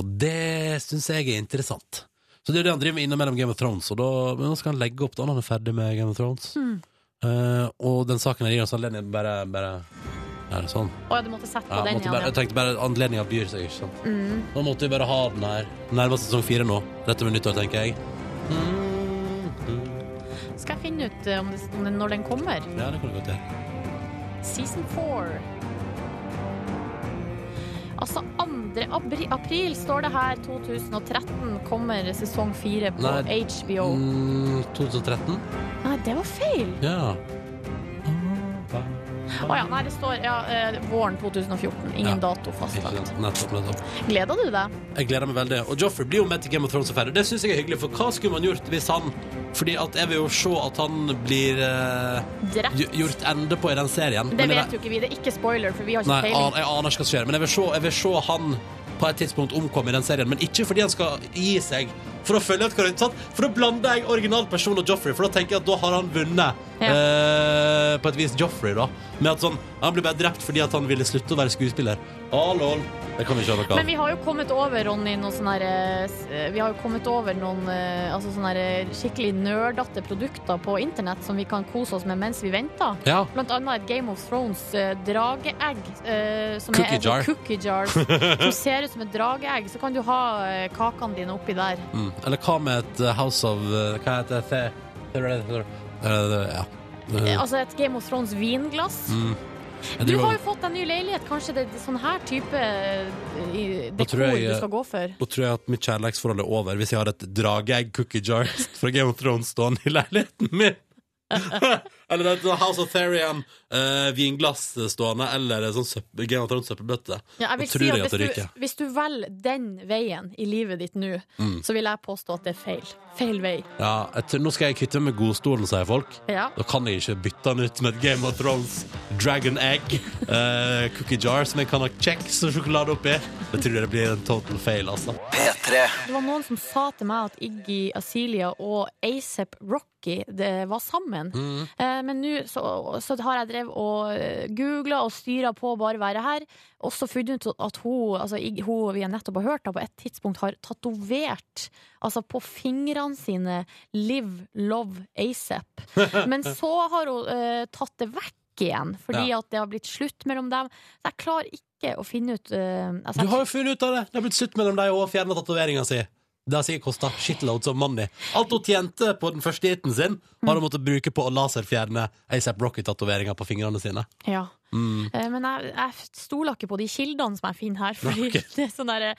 B: Og det syns jeg er interessant. Så det er jo det han driver med innimellom Game of Thrones. Og da, men nå skal han legge opp da når han er ferdig med Game of Thrones. Eh, og den saken her gir oss anledning til bare, bare Er det sånn?
C: Å ja, du måtte sette på
B: Ja,
C: den,
B: måtte
C: ja,
B: bare,
C: ja.
B: jeg tenkte bare anledninga byr seg, ikke sant.
C: Mm.
B: Nå måtte vi bare ha den her. Nærmer oss sesong fire nå. Dette med nyttår, tenker jeg. Mm.
C: Skal jeg finne ut eh, om det, om det, når den kommer?
B: Ja, det kan du godt gjøre.
C: Season 4. Altså 2. April, april står det her. 2013 kommer sesong 4 på
B: Nei.
C: HBO.
B: Mm, 2013?
C: Nei, det var feil.
B: Ja.
C: Å ja, nei, det står ja, eh, våren 2014. Ingen dato
B: Ikke
C: fastlagt.
B: sant. Nettopp, nettopp.
C: Gleder du deg?
B: Jeg gleder meg veldig. Og Joffrey blir jo med til Game of Thrones og ferdig. Det syns jeg er hyggelig, for hva skulle man gjort hvis han Fordi at jeg vil jo se at han blir eh,
C: Drept.
B: gj- gjort ende på i den serien.
C: Det
B: Men jeg
C: vet jo ikke vi. Det er ikke spoiler, for vi har
B: Nei,
C: ikke
B: jeg
C: peiling.
B: aner, jeg aner ikke hva som skjer, men jeg vil, se, jeg vil se han på et tidspunkt omkomme i den serien. Men ikke fordi han skal gi seg. For å følge ut hva det er sant? For da blander jeg originalperson og Joffrey, for da tenker jeg at da har han vunnet.
C: Ja.
B: Eh, på et vis Joffrey, da. Med at sånn, Han ble bare drept fordi at han ville slutte å være skuespiller. Ah, lol. Det kan vi ikke ha noe
C: Men
B: av.
C: vi har jo kommet over, Ronny, noen sånne her, eh, s- eh, Vi har jo kommet over noen eh, altså sånne her eh, skikkelig nerdete produkter på internett som vi kan kose oss med mens vi venter.
B: Ja.
C: Blant annet et Game of Thrones eh, drageegg. eh, som
B: Cookie
C: er,
B: jar.
C: Cookie jar. Som ser ut som et drageegg. Så kan du ha eh, kakene dine oppi der.
B: Mm. Eller hva med et eh, House of eh, Hva heter det? The- The Red- The- Eh, Ja.
C: Eh,
B: Eh,
C: Altså et Game of Thrones vinglass.
B: mm. Jeg
C: Du
B: driver-
C: har jo fått deg ny leilighet. Kanskje det er sånn her type eh, i-
B: Da tror
C: dekor
B: jeg,
C: du
B: eh,
C: skal gå for?
B: Da tror jeg at mitt kjærlighetsforhold er over hvis jeg har et drageegg cookie jar fra Game of Thrones stående i leiligheten min. eller et House of Therian eh, vinglass stående, eller en sånn søppel, Game of Thrones-søppelbøtte.
C: Ja, jeg
B: Da
C: vil
B: tror
C: si
B: jeg
C: at
B: at det
C: hvis,
B: ryker.
C: du, hvis du velger den veien i livet ditt nå,
B: Mm.
C: så vil jeg påstå at det er feil. Feil vei.
B: Ja, jeg tror, nå skal jeg kvitte meg med godstolen, sier folk.
C: Ja.
B: Da kan jeg ikke bytte den ut med et Game of Thrones Dragon Egg eh, cookie jar som jeg kan ha kjeks og sjokolade oppi. Jeg tror det blir en total fail, altså. P3.
C: Det var noen som sa til meg at Iggy Azilia og A$AP Rocky det var sammen.
B: Mm.
K: Mhm.
C: Eh, men nå så, så har jeg drev og googla og styra på å bare være her, og så funnet ut at hun, altså, Iggy, hun vi nettopp har hørt, da, på et tidspunkt har tatovert altså, på fingrene sine 'Live, love, A$AP'. Men så har hun eh, tatt det vekk. Igjen, fordi
B: Ja.
C: at det har blitt slutt mellom dem. Så jeg klarer ikke å finne ut eh, altså,
B: Du har jo funnet ut av det. Det har blitt slutt mellom deg og fjerna tatoveringa si. Det har sikkert kosta shitloads of money. Alt hun tjente på den første hiten sin, har hun måttet bruke på å laserfjerne ASAP Rocket-tatoveringa på fingrene sine.
C: Ja.
B: Mm.
C: Eh, Men jeg, jeg stoler ikke på de kildene som jeg finner her. Fordi
B: Ok.
C: det er sånn derre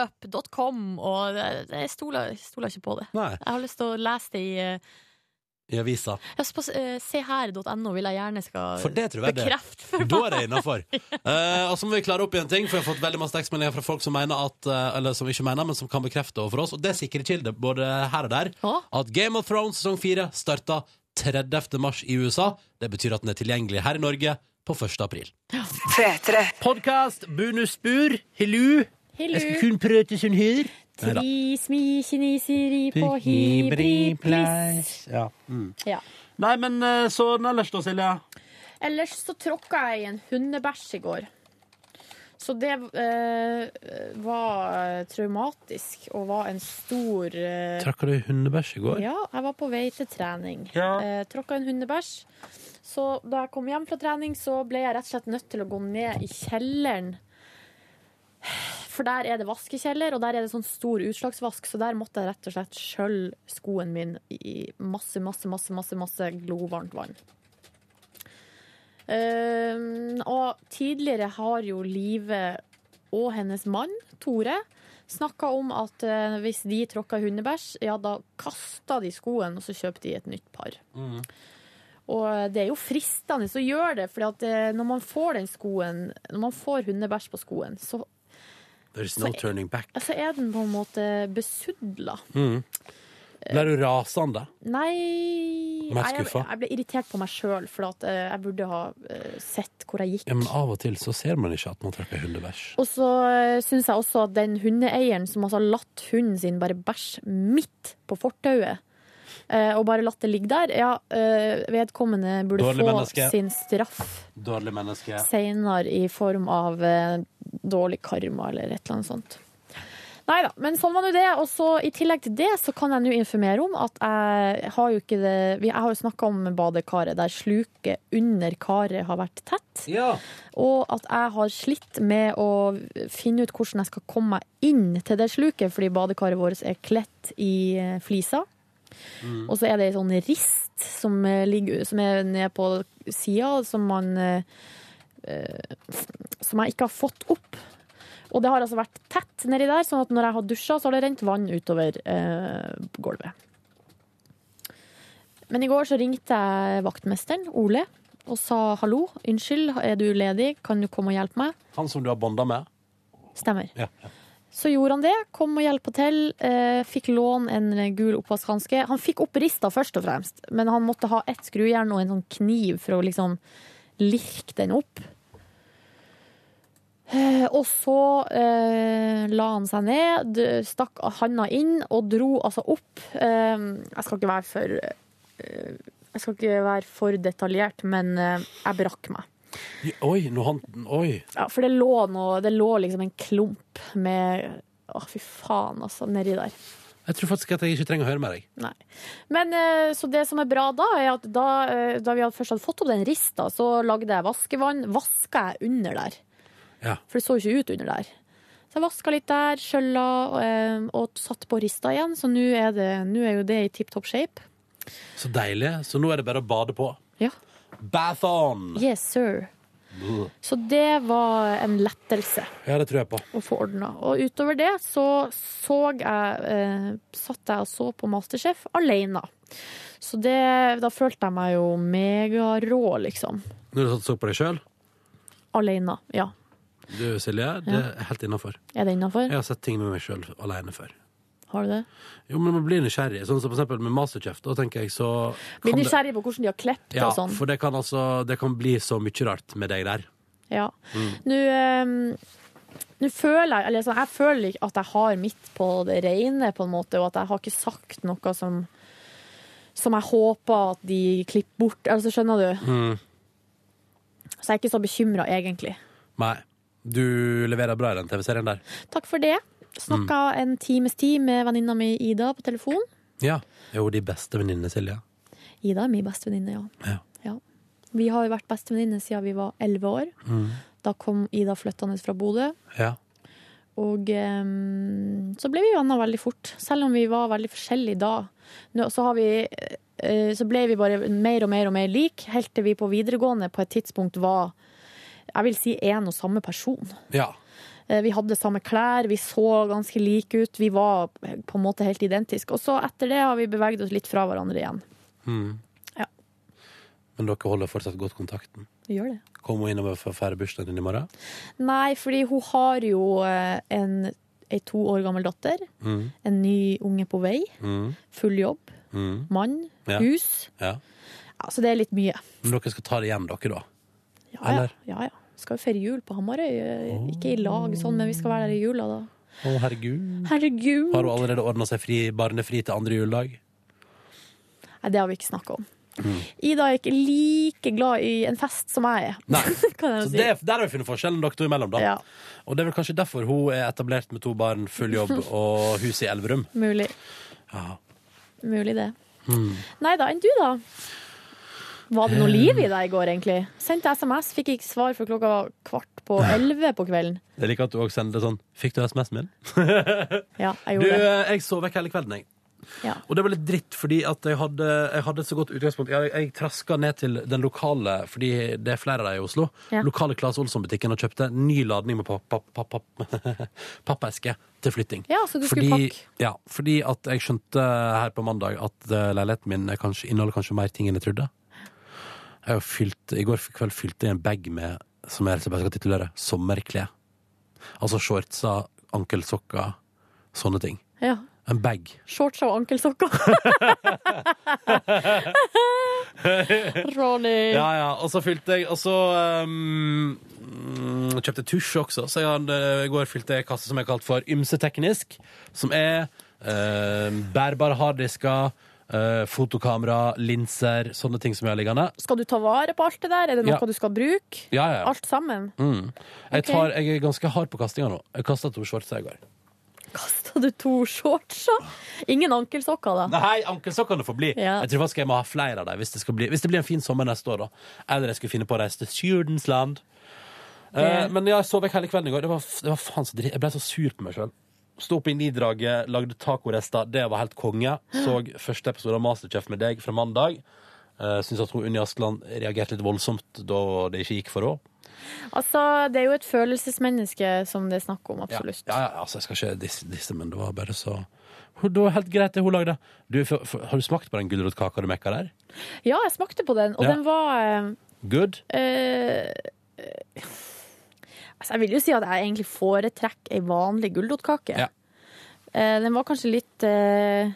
C: wrapup.com, og det- jeg stoler, stoler ikke på det.
B: Nei.
C: Jeg har lyst til å lese det i eh,
B: I avisa.
C: ja, så på, eh, seher.no, vil jeg gjerne skal
B: For det tror jeg det er.
C: bekrefte. for
B: Da er
C: meg.
B: det innafor. Eh, og så må vi klare opp igjen ting, for jeg har fått veldig masse tekstmeldinger fra folk som mener at eh, Eller som ikke mener, men som kan bekrefte overfor oss, og det er sikre kilder både her og der, at Game of Thrones sesong 4 starta 30. mars i USA. Det betyr at den er tilgjengelig her i Norge på 1. april.
A: P3.
B: Podkast, bunusbur, hillu.
C: Hillu. Jeg skal
B: kun prøte sin hyr.
C: Tri smi kineseri på hibri pliss.
B: Ja. Mm.
C: Ja.
B: Nei, men eh, sånn ellers da, Silja.
C: Ellers så tråkka jeg i en hundebæsj i går. Så det eh, var traumatisk og var en stor eh,
B: Trakk du hundebæsj i går?
C: Ja, jeg var på vei til trening.
B: Ja.
C: Eh, tråkka en hundebæsj. Så da jeg kom hjem fra trening, så ble jeg rett og slett nødt til å gå ned i kjelleren. For der er det vaskekjeller, og der er det sånn stor utslagsvask, så der måtte jeg rett og slett skjølle skoen min i masse, masse, masse, masse, masse glovarmt vann. Ehm, og tidligere har jo Live og hennes mann, Tore, snakka om at eh, hvis de tråkka i hundebæsj, ja, da kasta de skoen, og så kjøpte de et nytt par.
B: Mm.
C: Og eh, det er jo fristende å gjøre det, for når man får den skoen, når man får hundebæsj på skoen, så,
B: There's no turning back.
C: så er den på en måte besudla.
B: Mm. Ble du rasende?
C: Nei
B: Mer
C: nei, jeg,
B: skuffa?
C: jeg ble irritert på meg sjøl, for at eh, jeg burde ha eh, sett hvor jeg gikk.
B: Ja, men av og til så ser man ikke at man tråkker hundebæsj.
C: Og så syns jeg også at den hundeeieren som altså har latt hunden sin bare bæsje midt på fortauet, eh, og bare latt det ligge der, ja, eh, vedkommende burde
B: Dårlig
C: få
B: menneske.
C: sin straff
B: Dårlig menneske.
C: seinere i form av eh, dårlig karma eller et eller annet sånt. Nei da, men sånn var nå det. Og så I tillegg til det så kan jeg nå informere om at jeg har jo ikke det Jeg har jo snakka om badekaret der sluket under karet har vært tett. Og at jeg har slitt med å finne ut hvordan jeg skal komme meg inn til det sluket, fordi badekaret vårt er kledt i eh, fliser. Og så er det ei sånn rist som, eh, ligger, som er nede på sida, som man eh, eh, Som jeg ikke har fått opp. Og det har altså vært tett nedi der, sånn at når jeg har dusja, så har det rent vann utover eh, gulvet. Men i går så ringte jeg vaktmesteren, Ole, og sa hallo, unnskyld, er du ledig, kan du komme og hjelpe meg?
B: Han som du har bonda med?
C: Stemmer.
B: Ja.
C: Så gjorde han det, kom og hjelpa til. eh, fikk låne en eh, gul oppvaskhanske. Han fikk opp rista først og fremst, men han måtte ha ett skrujern og en sånn kniv for å liksom lirke den opp. Eh, Og så eh, la han seg ned, d- stakk handa inn og dro altså opp. Eh, jeg skal ikke være for eh, Jeg skal ikke være for detaljert, men eh, jeg brakk meg.
B: Oi, nå han Oi.
C: Ja, for det lå, noe, det lå liksom en klump med Å, fy faen, altså, nedi der.
B: Jeg tror faktisk at jeg ikke trenger å høre med deg.
C: Nei. Men eh, så det som er bra da, er at da, eh, da vi hadde først hadde fått opp den rista, så lagde jeg vaskevann. Vaska jeg under der.
B: Ja.
C: For det så jo ikke ut under der. Så jeg vaska litt der, skjølla eh, og satt på rista igjen, så nå er, det- nå er jo det i tipp topp shape.
B: Så deilig. Så nå er det bare å bade på.
C: Ja.
B: Bath on!
C: Yes, sir.
B: Buh.
C: Så det var en lettelse.
B: Ja, det tror jeg på.
C: å få ordna. Og utover det så så jeg eh, Satt jeg og så på Masterchef alene. Så det Da følte jeg meg jo megarå, liksom.
B: Når du satt og så på deg sjøl,
C: Alene. Ja.
B: du Silje, det er helt innafor.
C: Er det innafor?
B: Jeg har sett ting med meg sjøl alene før.
C: Har du det?
B: Jo, men man blir nysgjerrig. Sånn som for eksempel med Masterchef, da tenker jeg så
C: Blir
B: kan det-
C: nysgjerrig på hvordan de har klippet
B: Ja,
C: og sånn.
B: for det kan altså Det kan bli så mye rart med deg der.
C: Ja.
B: Mm.
C: Nå eh, nå føler jeg eller sånn, Jeg føler ikke at jeg har mitt på det rene, på en måte, og at jeg har ikke sagt noe som som jeg håper at de klipper bort. Altså, skjønner du?
B: Mm.
C: Så jeg er ikke så bekymra, egentlig.
B: Nei. Du leverer bra i den TV-serien der.
C: Takk for det. Snakka
B: Mm.
C: en times tid med venninna mi Ida på telefon.
B: Ja. Jo, de beste venninnene, Silje.
C: Ida er min bestevenninne, ja.
B: Ja.
C: ja. Vi har jo vært bestevenninner siden vi var elleve år.
B: Mm.
C: Da kom Ida flyttende fra Bodø.
B: Ja.
C: Og ehm, så ble vi venner veldig fort. Selv om vi var veldig forskjellige da, Nå, så, har vi, eh, så ble vi bare mer og mer og mer lik, helt til vi på videregående på et tidspunkt var jeg vil si én og samme person.
B: ja.
C: Eh, Vi hadde samme klær, vi så ganske like ut. Vi var på en måte helt identiske. Og så etter det har vi beveget oss litt fra hverandre igjen.
B: Mm.
C: Ja.
B: Men dere holder fortsatt godt kontakten?
C: Vi gjør det.
B: Kom hun innom for å feire bursdagen din i morgen?
C: Nei, fordi hun har jo eh, en, ei to år gammel datter.
B: Mm.
C: En ny unge på vei.
B: Mm.
C: Full jobb.
B: Mm.
C: Mann.
B: Ja.
C: Hus.
B: Ja.
C: Ja, så Altså, det er litt mye.
B: Men dere skal ta det hjem, dere, da?
C: Ja, ja. ja, ja. Skal jo feire jul på Hamarøy. eh, Ikke i lag sånn, men vi skal være der i jula, da.
B: Å, herregud.
C: Herregud!
B: Har hun allerede ordna seg fri, barnefri til andre juledag?
C: Nei, det har vi ikke snakka om.
B: Mm.
C: Ida er ikke like glad i en fest som jeg er.
B: Nei.
C: Kan jeg
B: Så
C: jo si.
B: det, der har vi funnet forskjellen dere to imellom, da.
C: Ja.
B: Og det er vel kanskje derfor hun er etablert med to barn, full jobb og hus i Elverum.
C: Mulig.
B: Ja.
C: Mulig det.
B: Mm. Eh.
C: Nei da, enn du da? Var det noe liv i deg i går, egentlig? Sendte SMS, fikk ikke svar før klokka var kvart på elleve på kvelden.
B: Jeg liker at du også sender det sånn Fikk du SMS-en min?
C: Ja, jeg
B: du,
C: gjorde det.
B: eh, jeg sov vekk hele kvelden, jeg.
C: Ja.
B: Og det var litt dritt, fordi at jeg hadde, jeg hadde et så godt utgangspunkt. Jeg, jeg traska ned til den lokale, fordi det er flere av dem i Oslo,
K: Ja.
B: lokale Claes Olsson-butikken og kjøpte ny ladning med papp- papp- papp- papp- pappeske til flytting.
K: Ja, så du skulle pakke.
B: Ja, fordi at jeg skjønte her på mandag at eh, leiligheten min er kanskje, inneholder kanskje mer ting enn jeg trodde. Jeg har fylt, I går kveld fylte jeg en bag med, som jeg rett og slett skal titulere, sommerklær. Altså shortser, ankelsokker, sånne ting.
C: Ja.
B: En bag.
C: Shorts og ankelsokker. Ronny.
B: Ja, ja. Og så fylte jeg Og så um, mm, kjøpte jeg tusj også. Så jeg hadde, i går fylte jeg kasse som jeg har kalt for ymseteknisk. Som er eh, bærbare harddisker, eh, fotokamera, linser, sånne ting som jeg har liggende.
C: Skal du ta vare på alt det der? Er det noe
B: Ja.
C: du skal bruke?
B: Ja, ja.
C: Alt sammen?
B: Mm. Jeg,
C: Ok.
B: tar, jeg er ganska hard på kastinga nå. Jeg kasta to shortser i går.
C: Kasta du to shorts òg? Ingen ankelsokker, da?
B: Nei, ankelsokkene får bli.
C: Ja.
B: Jeg tror faktisk jeg må ha flere av dem hvis det, skal bli, hvis det blir en fin sommer neste år. da Eller jeg skulle finne på å reise til Sjurdens land. Eh,
K: Det-
B: men jeg sov vekk hele kvelden i går. Det var, det var faen så dritt. Jeg ble så sur på meg sjøl. Sto opp i nidraget, lagde tacorester. Det var helt konge. Så første episode av Masterchef med deg fra mandag. Uh, Syns at hun Unni Askeland reagerte litt voldsomt da det ikke gikk for henne.
C: Altså, det er jo et følelsesmenneske som det er snakk om, absolutt.
B: Ja, ja, ja, altså, jeg skal ikke disse, disse men det var bare så Hun- Det var helt greit, det hun lagde. Du, for, for, har du smakt på den gulrotkaka du mekka der?
C: Ja, jeg smakte på den, og
B: Ja.
C: den var eh,
B: Good?
C: eh, eh, Altså, jeg vil jo si at jeg egentlig foretrekker ei vanlig gulrotkake.
B: Ja.
C: Eh, den var kanskje litt eh,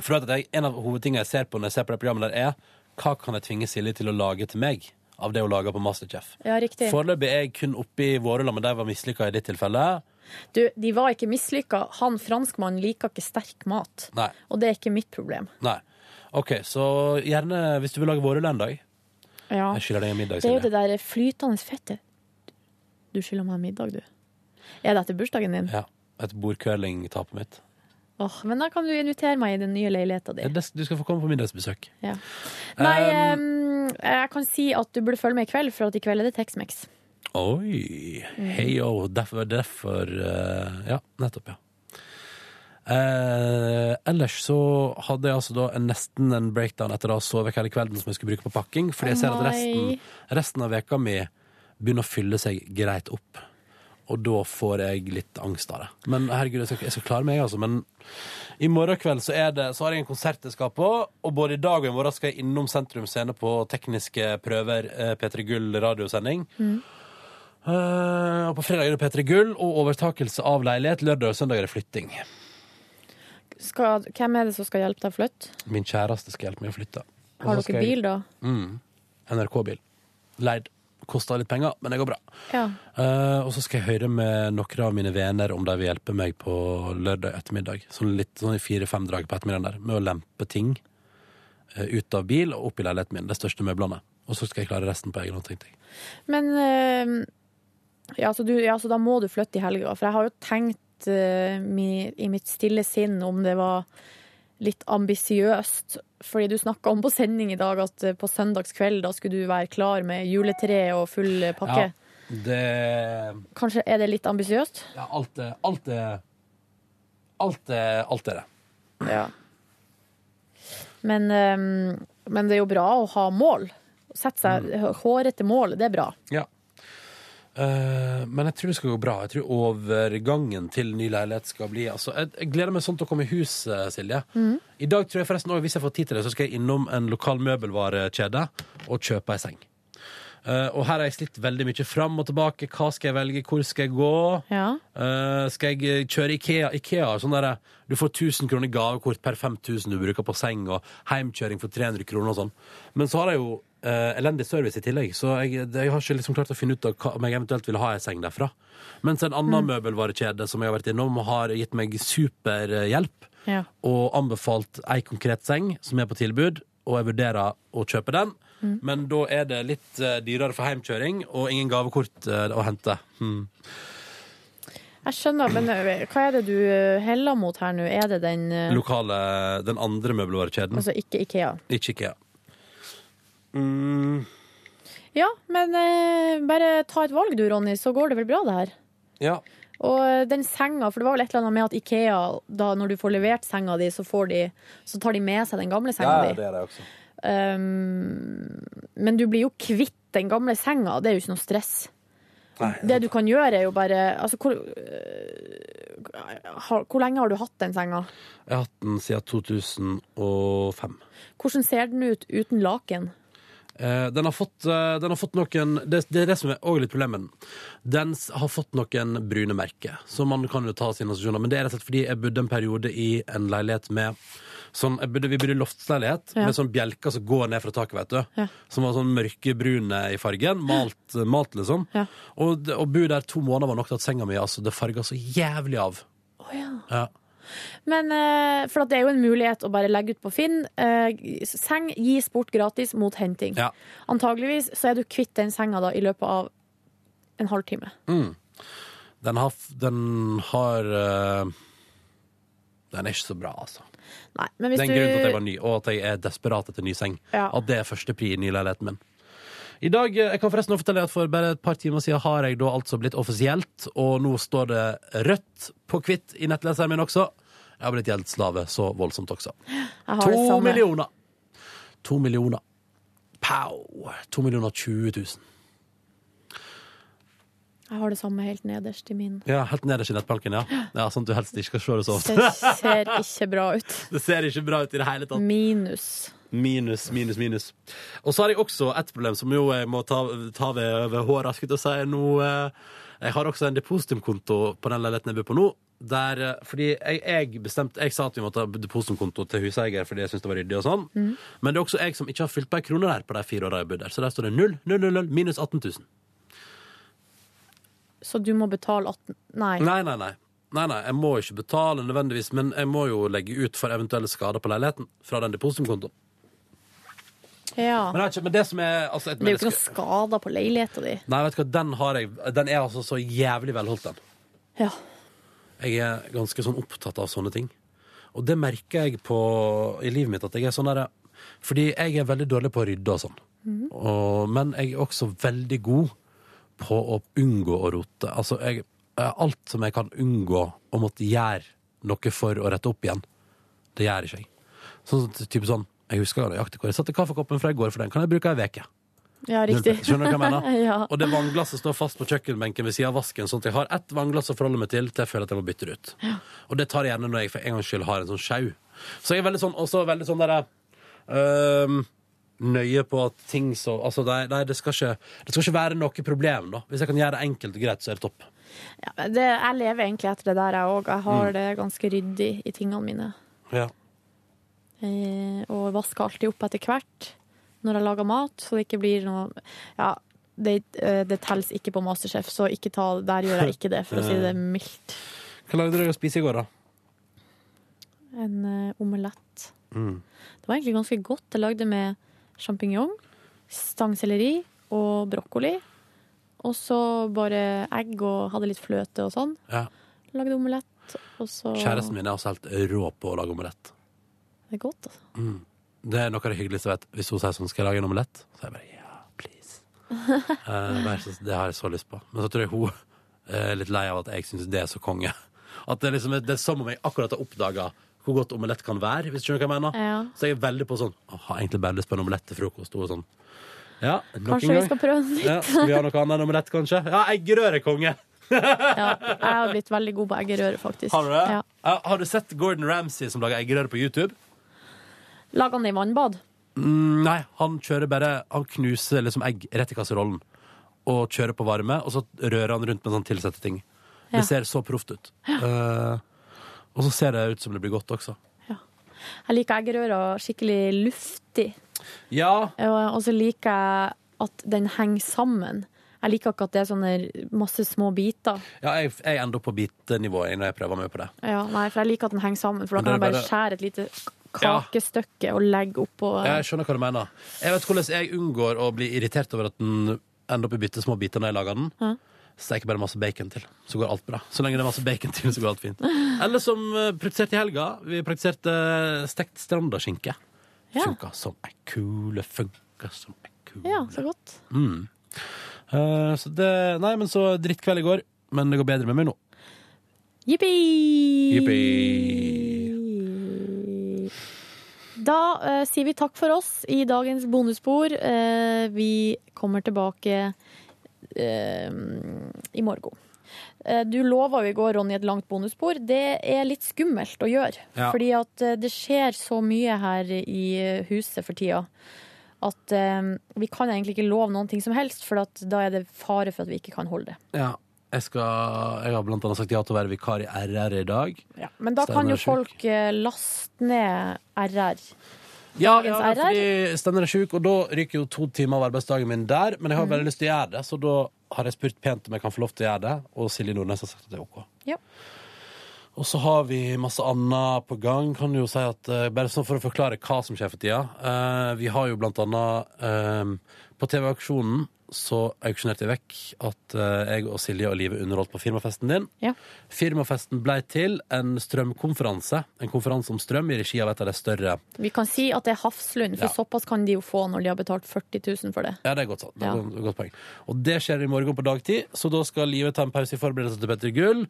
B: For at jeg, en av hovedtingene jeg ser på når jeg ser på det programmet der, er hva kan jeg tvinge Silje til å lage til meg av det hun lager på Masterchef?
C: Ja, riktig.
B: Foreløpig er jeg kun oppe i vårrulla, men de var mislykka i ditt tilfelle.
C: Du, de var ikke mislykka. Han franskmannen liker ikke sterk mat.
B: Nei.
C: Og det er ikke mitt problem.
B: nei. OK, så gjerne hvis du vil lage vårrulle en dag.
C: Ja.
B: Jeg skylder deg en middag,
C: Det er jo det
B: Silje.
C: der flytende fettet. Du skylder meg middag, du. Er det etter bursdagen din?
B: Ja, Et bordcurling-tapet mitt.
C: Åh, men da kan du invitere meg i den nye leiligheta di.
B: Ja, det- Du skal få komme på middagsbesøk.
C: Ja. Nei,
B: Um,
C: em, jeg kan si at du burde følge med i kveld, for at i kveld er det Tex-Mex.
B: Oi.
C: Mm.
B: Hei og derfor, derfor eh, Ja, nettopp, ja. Eh, ellers så hadde jeg altså da en, nesten en breakdown etter å ha sovet hele kvelden som jeg skulle bruke på pakking, fordi jeg ser at
K: Å, nei.
B: resten, resten av veka mi begynner å fylle seg greit opp. Og da får jeg litt angst av det. Men herregud, jeg skal, jeg skal klare meg, altså. Men i morgen kveld så, er det, så har jeg en konsert jeg skal på, og både i dag og i morgen skal jeg innom Sentrum Scene på tekniske prøver, eh, P3 Gull radiosending. Eh, og på fredag er det P3 Gull og overtakelse av leilighet. Lørdag og søndag er det flytting.
C: Skal, hvem er det som skal hjelpe deg å flytte?
B: Min kjæreste skal hjelpe meg å flytte. Og
C: Har
B: så skal
C: dere bil, da?
B: Jeg... Mm. NRK-bil. Leid. Kosta litt penger, men det går bra.
C: Ja.
B: Eh, og så skal jeg høre med noen av mine venner om de vil hjelpe meg på lørdag ettermiddag. Sånn litt sånn i fire-fem drag på ettermiddagen der, med å lempe ting eh, ut av bil og opp i leiligheten min. De største møblene. Og så skal jeg klare resten på egen hånd, tenkte jeg.
C: Men em, ja, så du, ja, så da må du flytte i helga. For jeg har jo tenkt eh, mi, i mitt stille sinn om det var litt ambisiøst. Fordi du snakka om på sending i dag at eh, på søndagskveld da skulle du være klar med juletre og full eh, pakke.
B: Ja, det
C: Kanskje er det litt ambisiøst?
B: Ja, alt er Alt er, alt er, alt er det.
C: Ja. Men, ehm, men det er jo bra å ha mål. Sette seg hårete mål, det er bra.
B: Eh, men jeg tror det skal gå bra. Jeg tror overgangen til ny leilighet skal bli altså, jeg, jeg gleder meg sånn til å komme i hus, eh, Silje.
K: Mhm.
B: I dag tror jeg forresten også, hvis jeg får tid til det, så skal jeg innom en lokal møbelvarekjede og kjøpe ei seng. Eh, og her har jeg slitt veldig mye fram og tilbake. Hva skal jeg velge? Hvor skal jeg gå? Eh, skal jeg eh, kjøre Ikea? Ikea har sånn derre Du får 1000 kroner gavekort per 5000 du bruker på seng, og heimkjøring for 300 kroner og sånn. Men så har jeg jo eh, elendig service i tillegg, så jeg, det- jeg har ikke liksom klart å finne ut av hva, om jeg eventuelt vil ha ei seng derfra. Mens en annen møbelvarekjede som jeg har vært innom, har gitt meg superhjelp
C: Ja.
B: og anbefalt ei konkret seng som er på tilbud, og jeg vurderer å kjøpe den.
K: Mm.
B: Men da er det litt eh, dyrere for heimkjøring og ingen gavekort eh, å hente. Hmm.
C: Jeg skjønner, men eh, hva er det du eh, heller mot her nå? Er det den eh,
B: lokale, den andre møbelvarekjeden.
C: Altså ikke Ikea?
B: Ikke IKEA. Mm,
C: Ja, men eh, bare ta et valg du, Ronny, så går det vel bra, det her.
B: ja.
C: Og eh, den senga, for det var vel et eller annet med at Ikea, da når du får levert senga di, så, får de, så tar de med seg den gamle senga di.
B: er det også.
C: Um, men du blir jo kvitt den gamle senga, det er jo ikke noe stress.
B: Nei,
C: Det du kan gjøre, er jo bare altså, hvor, øh, har, hvor lenge har du hatt den senga?
B: Jeg har hatt den siden 2005.
C: Hvordan ser den ut uten laken?
B: Eh, den, har fått, eh, den har fått noen Det, det er det som er også litt problemet. med den. Den s- har fått noen brune merker, så man kan jo ta sine assosiasjoner. Men det er rett og slett fordi jeg bodde en periode i en leilighet med sånn, jeg bodde, Vi bodde i loftsleilighet
K: Ja.
B: med sånn bjelker som går ned fra taket, vet du.
K: Ja.
B: Som var sånn mørkebrune i fargen. Malt, malt liksom. Og, det- å bo der to måneder var nok til at senga mi altså, det farga så jævlig av. Ja.
C: Men, eh, for at det er jo en mulighet å bare legge ut på Finn. Eh, seng gis bort gratis mot henting.
B: Ja.
C: Antageligvis så er du kvitt den senga da i løpet av en halvtime.
B: Mm. Den har, f- den, har eh, den er ikke så bra, altså.
C: Nei, men
B: Det er
C: hvis
B: en
C: du
B: grunn til at jeg var ny, og at jeg er desperat etter ny seng.
C: Ja.
B: At det er første pri i ny leiligheten min. I dag, eh, jeg kan forresten også fortelle at For bare et par timer siden har jeg da altså blitt offisielt, og nå står det rødt på hvitt i nettleseren min også. Jeg har blitt gjeldsslave så voldsomt også.
C: har
B: To
C: det samme.
B: millioner. To millioner. Pow! To millioner 20 000.
C: Jeg har det samme helt nederst i min.
B: Ja, helt nederst i nettbanken, ja. ja. Sånn at du helst ikke skal se det så
C: Det
B: ofte.
C: ser ikke bra ut.
B: Det ser ikke bra ut i det hele tatt.
C: Minus.
B: Minus, minus, minus. Og så har jeg også et problem som jo jeg må ta, ta ved, ved håret. Skulle jeg til å si nå eh, Jeg har også en depositumkonto på den leiligheten jeg bor på nå. Der, eh, fordi jeg, jeg bestemte Jeg sa at vi måtte ha depositumkonto til huseier fordi jeg syntes det var ryddig. og sånn
L: Mm.
B: Men det er også jeg som ikke har fylt på ei krone der på de fire åra jeg bodde der. Så der står det null, null, null, null, minus 18 000.
C: Så du må betale 18 Nei.
B: Nei, nei, nei. Nei, nei, Jeg må ikke betale nødvendigvis, men jeg må jo legge ut for eventuelle skader på leiligheten fra den depositumkontoen.
C: Ja.
B: Men, jeg, vet ikke, men det som er altså, et
C: Det er jo ikke
B: menneske-
C: noen skader på leiligheta di.
B: Nei, vet du hva, den har jeg Den er altså så jævlig velholdt den
C: Ja.
B: Jeg er ganske sånn opptatt av sånne ting Og det merker jeg på I livet mitt at jeg er sånn der Fordi jeg er veldig dårlig på å rydde og sånn
L: Mhm.
B: og, Men jeg er også veldig god På å unngå å rote Altså, jeg, alt som jeg kan unngå Å måtte gjøre noe for å rette opp igjen Det gjør ikke jeg Sånn, typ sånn Jeg husker nøyaktig hvor jeg satte kaffekoppen fra i går For den kan jeg bruke i veke
C: Ja, riktig.
B: Skjønner du hva jeg mener?
C: ja.
B: Og det vannglasset står fast på kjøkkenbenken ved siden av vasken, sånn at jeg har ett vannglass å forholde meg til til jeg føler at jeg må bytte det ut. Og det tar jeg gjerne når jeg for en gangs skyld har en sånn sjau. Så jeg er veldig sånn, også veldig sånn der øhm, nøye på at ting så Altså, nei, nei det, skal ikke, det skal ikke være noe problem, da. Hvis jeg kan gjøre det enkelt og greit, så er det topp.
C: Ja, men det, jeg lever egentlig etter det der, jeg òg. Jeg har
B: Mm.
C: det ganske ryddig i tingene mine.
B: Ja.
C: Eh, og vasker alltid opp etter hvert når jeg lager mat, så det ikke blir noe Ja, det, eh, det telles ikke på Masterchef, så ikke ta, der gjør jeg ikke det, for å si det mildt.
B: Hva lagde dere å spise i går, da?
C: En eh, omelett.
B: Mm.
C: Det var egentlig ganske godt. Jeg lagde med sjampinjong, stangselleri og brokkoli. Og så bare egg og hadde litt fløte og sånn.
B: Ja.
C: Lagde omelett. Og så
B: Kjæresten min er også helt rå på å lage omelett.
C: Det er godt, altså.
B: Mm. Det er noe av det hyggeligste jeg vet. Hvis hun sier sånn, skal jeg lage en omelett? Så er jeg bare, ja, please. Eh, vær så- det har jeg så lyst på. Men så tror jeg hun eh, er litt lei av at jeg syns det er så konge. At det, er liksom, det er som om jeg akkurat har oppdaga hvor godt omelett kan være. Hvis du skjønner hva jeg mener.
C: Ja.
B: Så jeg er veldig på sånn «Å, Har egentlig bare lyst på en omelett til frokost. Og sånn. Ja, nok
C: Kanskje
B: en
C: vi
B: gang.
C: skal prøve den litt.
B: Ja, skal vi ha noe annet enn omelett, kanskje? Ja, eggerøre, konge!
C: Ja, jeg har blitt veldig god på eggerøre, faktisk.
B: Har du det?
C: Ja.
B: Ja, har du sett Gordon Ramsay som lager eggerøre på YouTube?
C: Lager den i vannbad.
B: Mm, nei, han kjører bare Han knuser liksom egg rett i kasserollen og kjører på varme, og så rører han rundt med sånn tilsette ting.
C: Ja.
B: Det ser så proft ut. Eh, og så ser det ut som det blir godt også.
C: Jeg liker eggerøra skikkelig luftig.
B: Ja.
C: Og og så liker jeg at den henger sammen. Jeg liker ikke at det er sånne masse små biter.
B: Ja, jeg, jeg ender opp på bitenivå jeg, når jeg prøver meg på det.
C: Ja, nei, for jeg liker at den henger sammen, for da
B: Men
C: kan jeg
B: det er
C: bare
B: bare-
C: skjære et lite kakestykke og legge oppå.
B: Jeg skjønner hva du mener. Jeg vet hvordan jeg unngår å bli irritert over at den ender opp i bitte små biter når jeg lager den.
C: Ja.
B: Steker bare masse bacon til, så går alt bra. Så lenge det er masse bacon til, så går alt fint. Eller som eh, praktisert i helga. Vi praktiserte eh, stekt strandaskinke.
C: Ja.
B: Funka som ei kule. Funka som ei
C: Ja, så godt.
B: mm. Eh, Så det Nei, men så drittkveld i går. Men det går bedre med meg nå.
C: Jippi!
B: Jippi.
C: Da eh, sier vi takk for oss i dagens bonusspor. Eh, vi kommer tilbake eh, i morgen. Eh, Du lova jo i går, Ronny, et langt bonusspor. Det er litt skummelt å gjøre.
M: Ja.
C: Fordi at eh, det skjer så mye her i eh, huset for tida at eh, vi kan egentlig ikke love noen ting som helst, for at da er det fare for at vi ikke kan holde det.
B: Ja. Jeg, skal, jeg har blant annet sagt ja til å være vikar i RR i dag.
C: Men da
B: Steinar
C: kan
B: er
C: jo
B: sjuk.
C: folk eh, laste ned RR.
B: Ja,
C: Dagens
B: ja
C: RR.
B: fordi Steinar er sjuk, og da ryker jo to timer av arbeidsdagen min der. Men jeg har
C: Mm.
B: veldig lyst til å gjøre det, så da har jeg spurt pent om jeg kan få lov til å gjøre det. Og Silje Nordnes har sagt at det er OK.
C: Ja.
B: Og så har vi masse annet på gang. Kan jo si at, eh, bare sånn for å forklare hva som skjer for tida. eh, vi har jo blant annet eh, på TV-aksjonen så auksjonerte jeg vekk at eh, jeg og Silje og Live underholdt på firmafesten din.
C: Ja.
B: Firmafesten ble til en strømkonferanse. En konferanse om strøm i regi av et av de større.
C: Vi kan si at det er Hafslund, for
B: Ja.
C: såpass kan de jo få når de har betalt 40 000 for det.
B: Ja, det er godt, sagt. Det er
C: Ja.
B: et godt poeng. Og det skjer i morgen på dagtid, så da skal Live ta en pause i forberedelse til Petter Gull.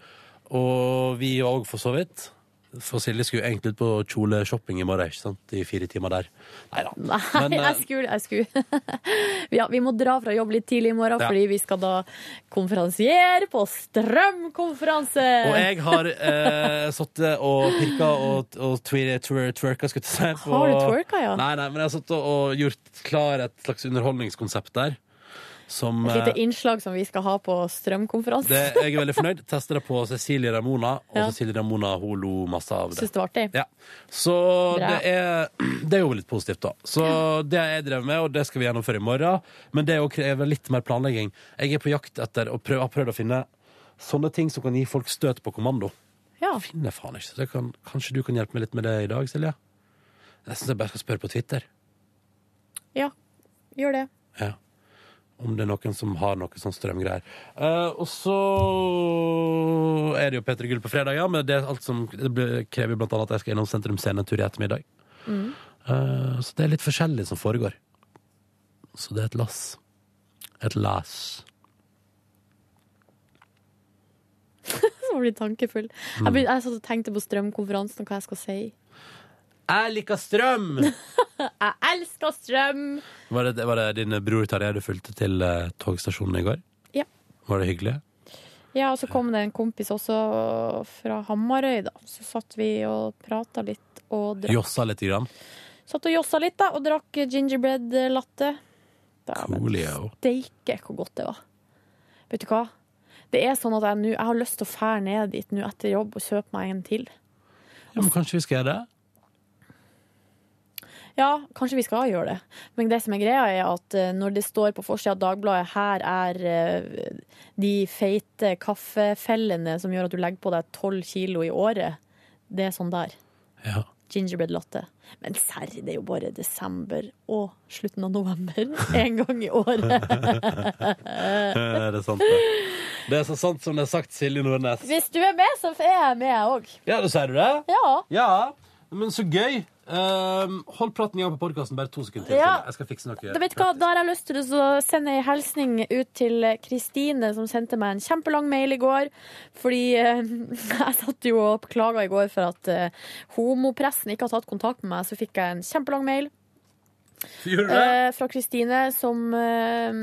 B: Og vi òg, for så vidt. For Silje skulle egentlig ut på kjoleshopping i morgen, ikke sant? I fire timer der. eh, Nei da.
C: Nei, jeg skulle, jeg skulle. ja, vi må dra fra jobb litt tidlig i morgen,
B: Ja.
C: fordi vi skal da konferansiere på strømkonferanse!
B: Og jeg har eh, sittet og pirka og, og twer, twer, twerka, skulle jeg til å si. på-
C: Har du twerka, ja?
B: Nei, nei, men jeg har sittet og gjort klar et slags underholdningskonsept der. Som
C: Et lite
B: eh,
C: innslag som vi skal ha på strømkonferanse.
B: det, Jeg er veldig fornøyd. Tester det på Cecilie Ramona, og
C: Ja.
B: Cecilie Ramona hun lo masse av det.
C: Syns det var artig.
B: Ja. Så
C: Bra.
B: det er, det er jo litt positivt, da. Så det har jeg drevet med, og det skal vi gjennomføre i morgen. Men det er jo krever litt mer planlegging. Jeg er på jakt etter og prøv, har prøvd å finne sånne ting som kan gi folk støt på kommando.
C: Ja.
B: Finner jeg faen ikke. Så det kan, kanskje du kan hjelpe meg litt med det i dag, Silje? Jeg syns jeg bare skal spørre på Twitter
C: Ja, gjør det.
B: om det er noen som har noe sånn strømgreier. Eh, og så er det jo P3 Gull på fredag, ja, men det, er alt som, det blir- krever jo blant annet at jeg skal innom Sentrum Scene en tur i ettermiddag.
C: Mm.
B: Eh, Så det er litt forskjellig som foregår. Så det er et lass. Et lass.
C: Så blir jeg tankefull.
B: Mm.
C: Jeg, blir, jeg satt og tenkte på strømkonferansen og hva jeg skal si.
B: Jeg liker strøm!
C: Jeg elsker strøm!
B: Var det, var det din bror Tarjei du fulgte til eh, togstasjonen i går?
C: Ja.
B: Var det hyggelig?
C: Ja, og så kom det en kompis også fra Hamarøy, da. Så satt vi og prata litt og drakk.
B: Jossa litt grann?
C: Satt og jossa litt, da, og drakk gingerbread latte.
B: Coolio.
C: Steike hvor godt det var. Vet du hva? Det er sånn at jeg, nå- jeg har lyst til å fære ned dit nå etter jobb og kjøpe meg en til.
B: Ja, men kanskje vi skal gjøre det?
C: Ja, kanskje vi skal gjøre det. Men det som er greia, er at eh, når det står på forsida av Dagbladet her er eh, de feite kaffefellene som gjør at du legger på deg tolv kilo i året, det er sånn der.
B: Ja.
C: Gingerbread latte. Men serr, det er jo bare desember og slutten av november én gang i året.
B: Eh, det er sant, det. Det er så sant som det er sagt, Silje Nordnes.
C: Hvis du er med, så er jeg med, jeg òg.
B: Ja, da sier du det?
C: Ja.
B: Ja, men så gøy. Um, hold praten i gang på podkasten bare to sekunder til.
C: Ja.
B: Silje. Jeg skal fikse noe.
C: Da, vet du hva, da har jeg lyst til å sende ei hilsning ut til Kristine, som sendte meg en kjempelang mail i går. Fordi eh, jeg satt jo og klaga i går for at eh, homopressen ikke har tatt kontakt med meg. Så fikk jeg en kjempelang mail
B: Gjorde du det?
C: eh, fra Kristine som eh,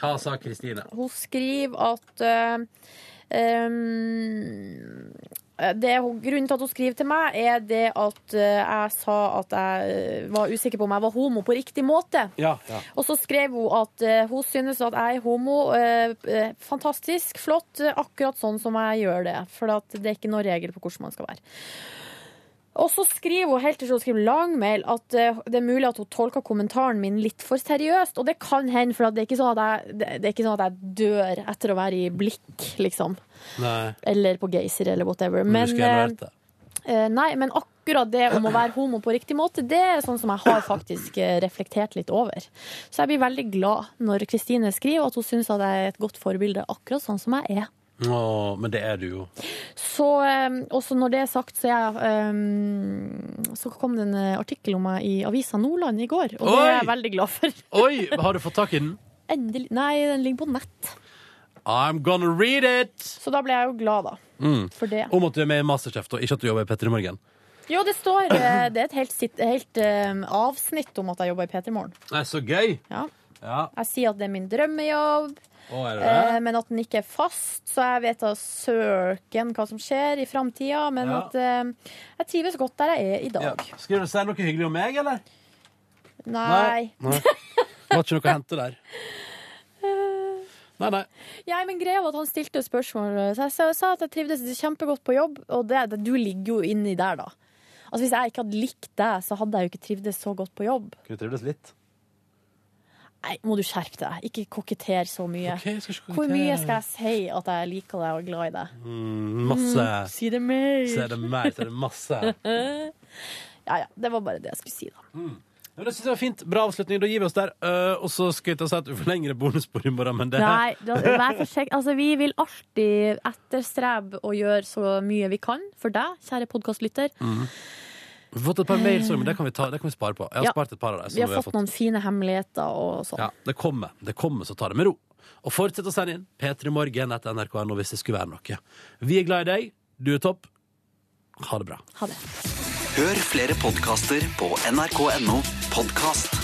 B: Hva sa Kristine?
C: Hun skriver at eh, em, det hun, grunnen til at hun skriver til meg, er det at eh, jeg sa at jeg eh, var usikker på om jeg var homo på riktig måte.
B: Ja, ja.
C: Og så skrev hun at eh, hun synes at jeg er homo. eh, eh, fantastisk, flott, eh, akkurat sånn som jeg gjør det. For at det er ikke noen regel på hvordan man skal være. Og så skriver hun helt til slutt, hun skriver lang mail at eh, det er mulig at hun tolka kommentaren min litt for seriøst. Og det kan hende, for at det, er ikke sånn at jeg, det, det er ikke sånn at jeg dør etter å være i blikk, liksom.
B: Nei.
C: Eller på Geysir, eller whatever.
B: Men
C: Men,
B: du skulle gjerne vært det.
C: eh, nei, men akkurat det om å være homo på riktig måte, det er sånn som jeg har faktisk eh, reflektert litt over. Så jeg blir veldig glad når Kristine skriver at hun syns at jeg er et godt forbilde, akkurat sånn som jeg er.
B: Å, men det er du jo.
C: Så eh, også når det er sagt, så, er jeg, eh, så kom det en eh, artikkel om meg i Avisa Nordland i går, og det er jeg
B: Oi!
C: veldig glad for.
B: Oi, har du fått tak i den?
C: Endelig. Nei, den ligger på nett.
B: I'm gonna read it!
C: Så da ble jeg jo glad, da.
B: Mm.
C: For det.
B: Om at du er med i Masterchef, og ikke at du jobber i Petter i morgen.
C: Jo, det står eh, Det er et helt, sitt- helt eh, avsnitt om at jeg jobber i P3 Morgen.
B: Nei, så gøy!
C: Ja.
B: Ja.
C: Jeg sier at det er min drømmejobb,
B: Å, er det
C: eh,
B: det?
C: men at den ikke er fast, så jeg vet da søken hva som skjer i framtida. Men
B: Ja.
C: at eh, jeg trives godt der jeg er i dag.
B: Ja. Skal du si noe hyggelig om meg, eller?
C: Nei.
B: Nei. Det var ikke noe å hente der.
C: Eh.
B: Nei, nei.
C: Ja, men greia var at Han stilte spørsmål, så jeg sa- sa at jeg trivdes kjempegodt på jobb. Og det, det, du ligger jo inni der, da. Altså Hvis jeg ikke hadde likt deg, så hadde jeg jo ikke trivdes så godt på jobb.
B: Kunne trivdes litt.
C: Nei, må du skjerpe deg. Ikke kokettere så mye.
B: Ok, jeg skal ikke
C: Hvor
B: kokettere.
C: mye skal jeg si at jeg liker deg og er glad i deg?
B: Mm, masse.
C: Mm, si det mer.
B: Si det mer, si det masse.
C: ja ja, det var bare det jeg skulle si, da.
B: Ja, men Det synes jeg var fint. Bra avslutning. Da gir vi oss der. Eh, og så skal jeg ta og si at vi får lengre bonusspor i morgen, men det
C: Nei, da- vær forsiktig. Altså, vi vil alltid etterstrebe å gjøre så mye vi kan for deg, kjære podkastlytter.
B: Mhm. Vi har fått et par mails, men det kan vi, ta, det kan vi spare på. Jeg har
C: Ja.
B: spart et par av dem. som
C: Vi har fått noen fine hemmeligheter og sånn.
B: Ja, det kommer. Det kommer, så ta det med ro. Og fortsett å sende inn p3morgen etter nrk.no hvis det skulle være noe. Vi er glad i deg. Du er topp. Ha det bra.
N: Hør flere podkaster på nrk.no podkast.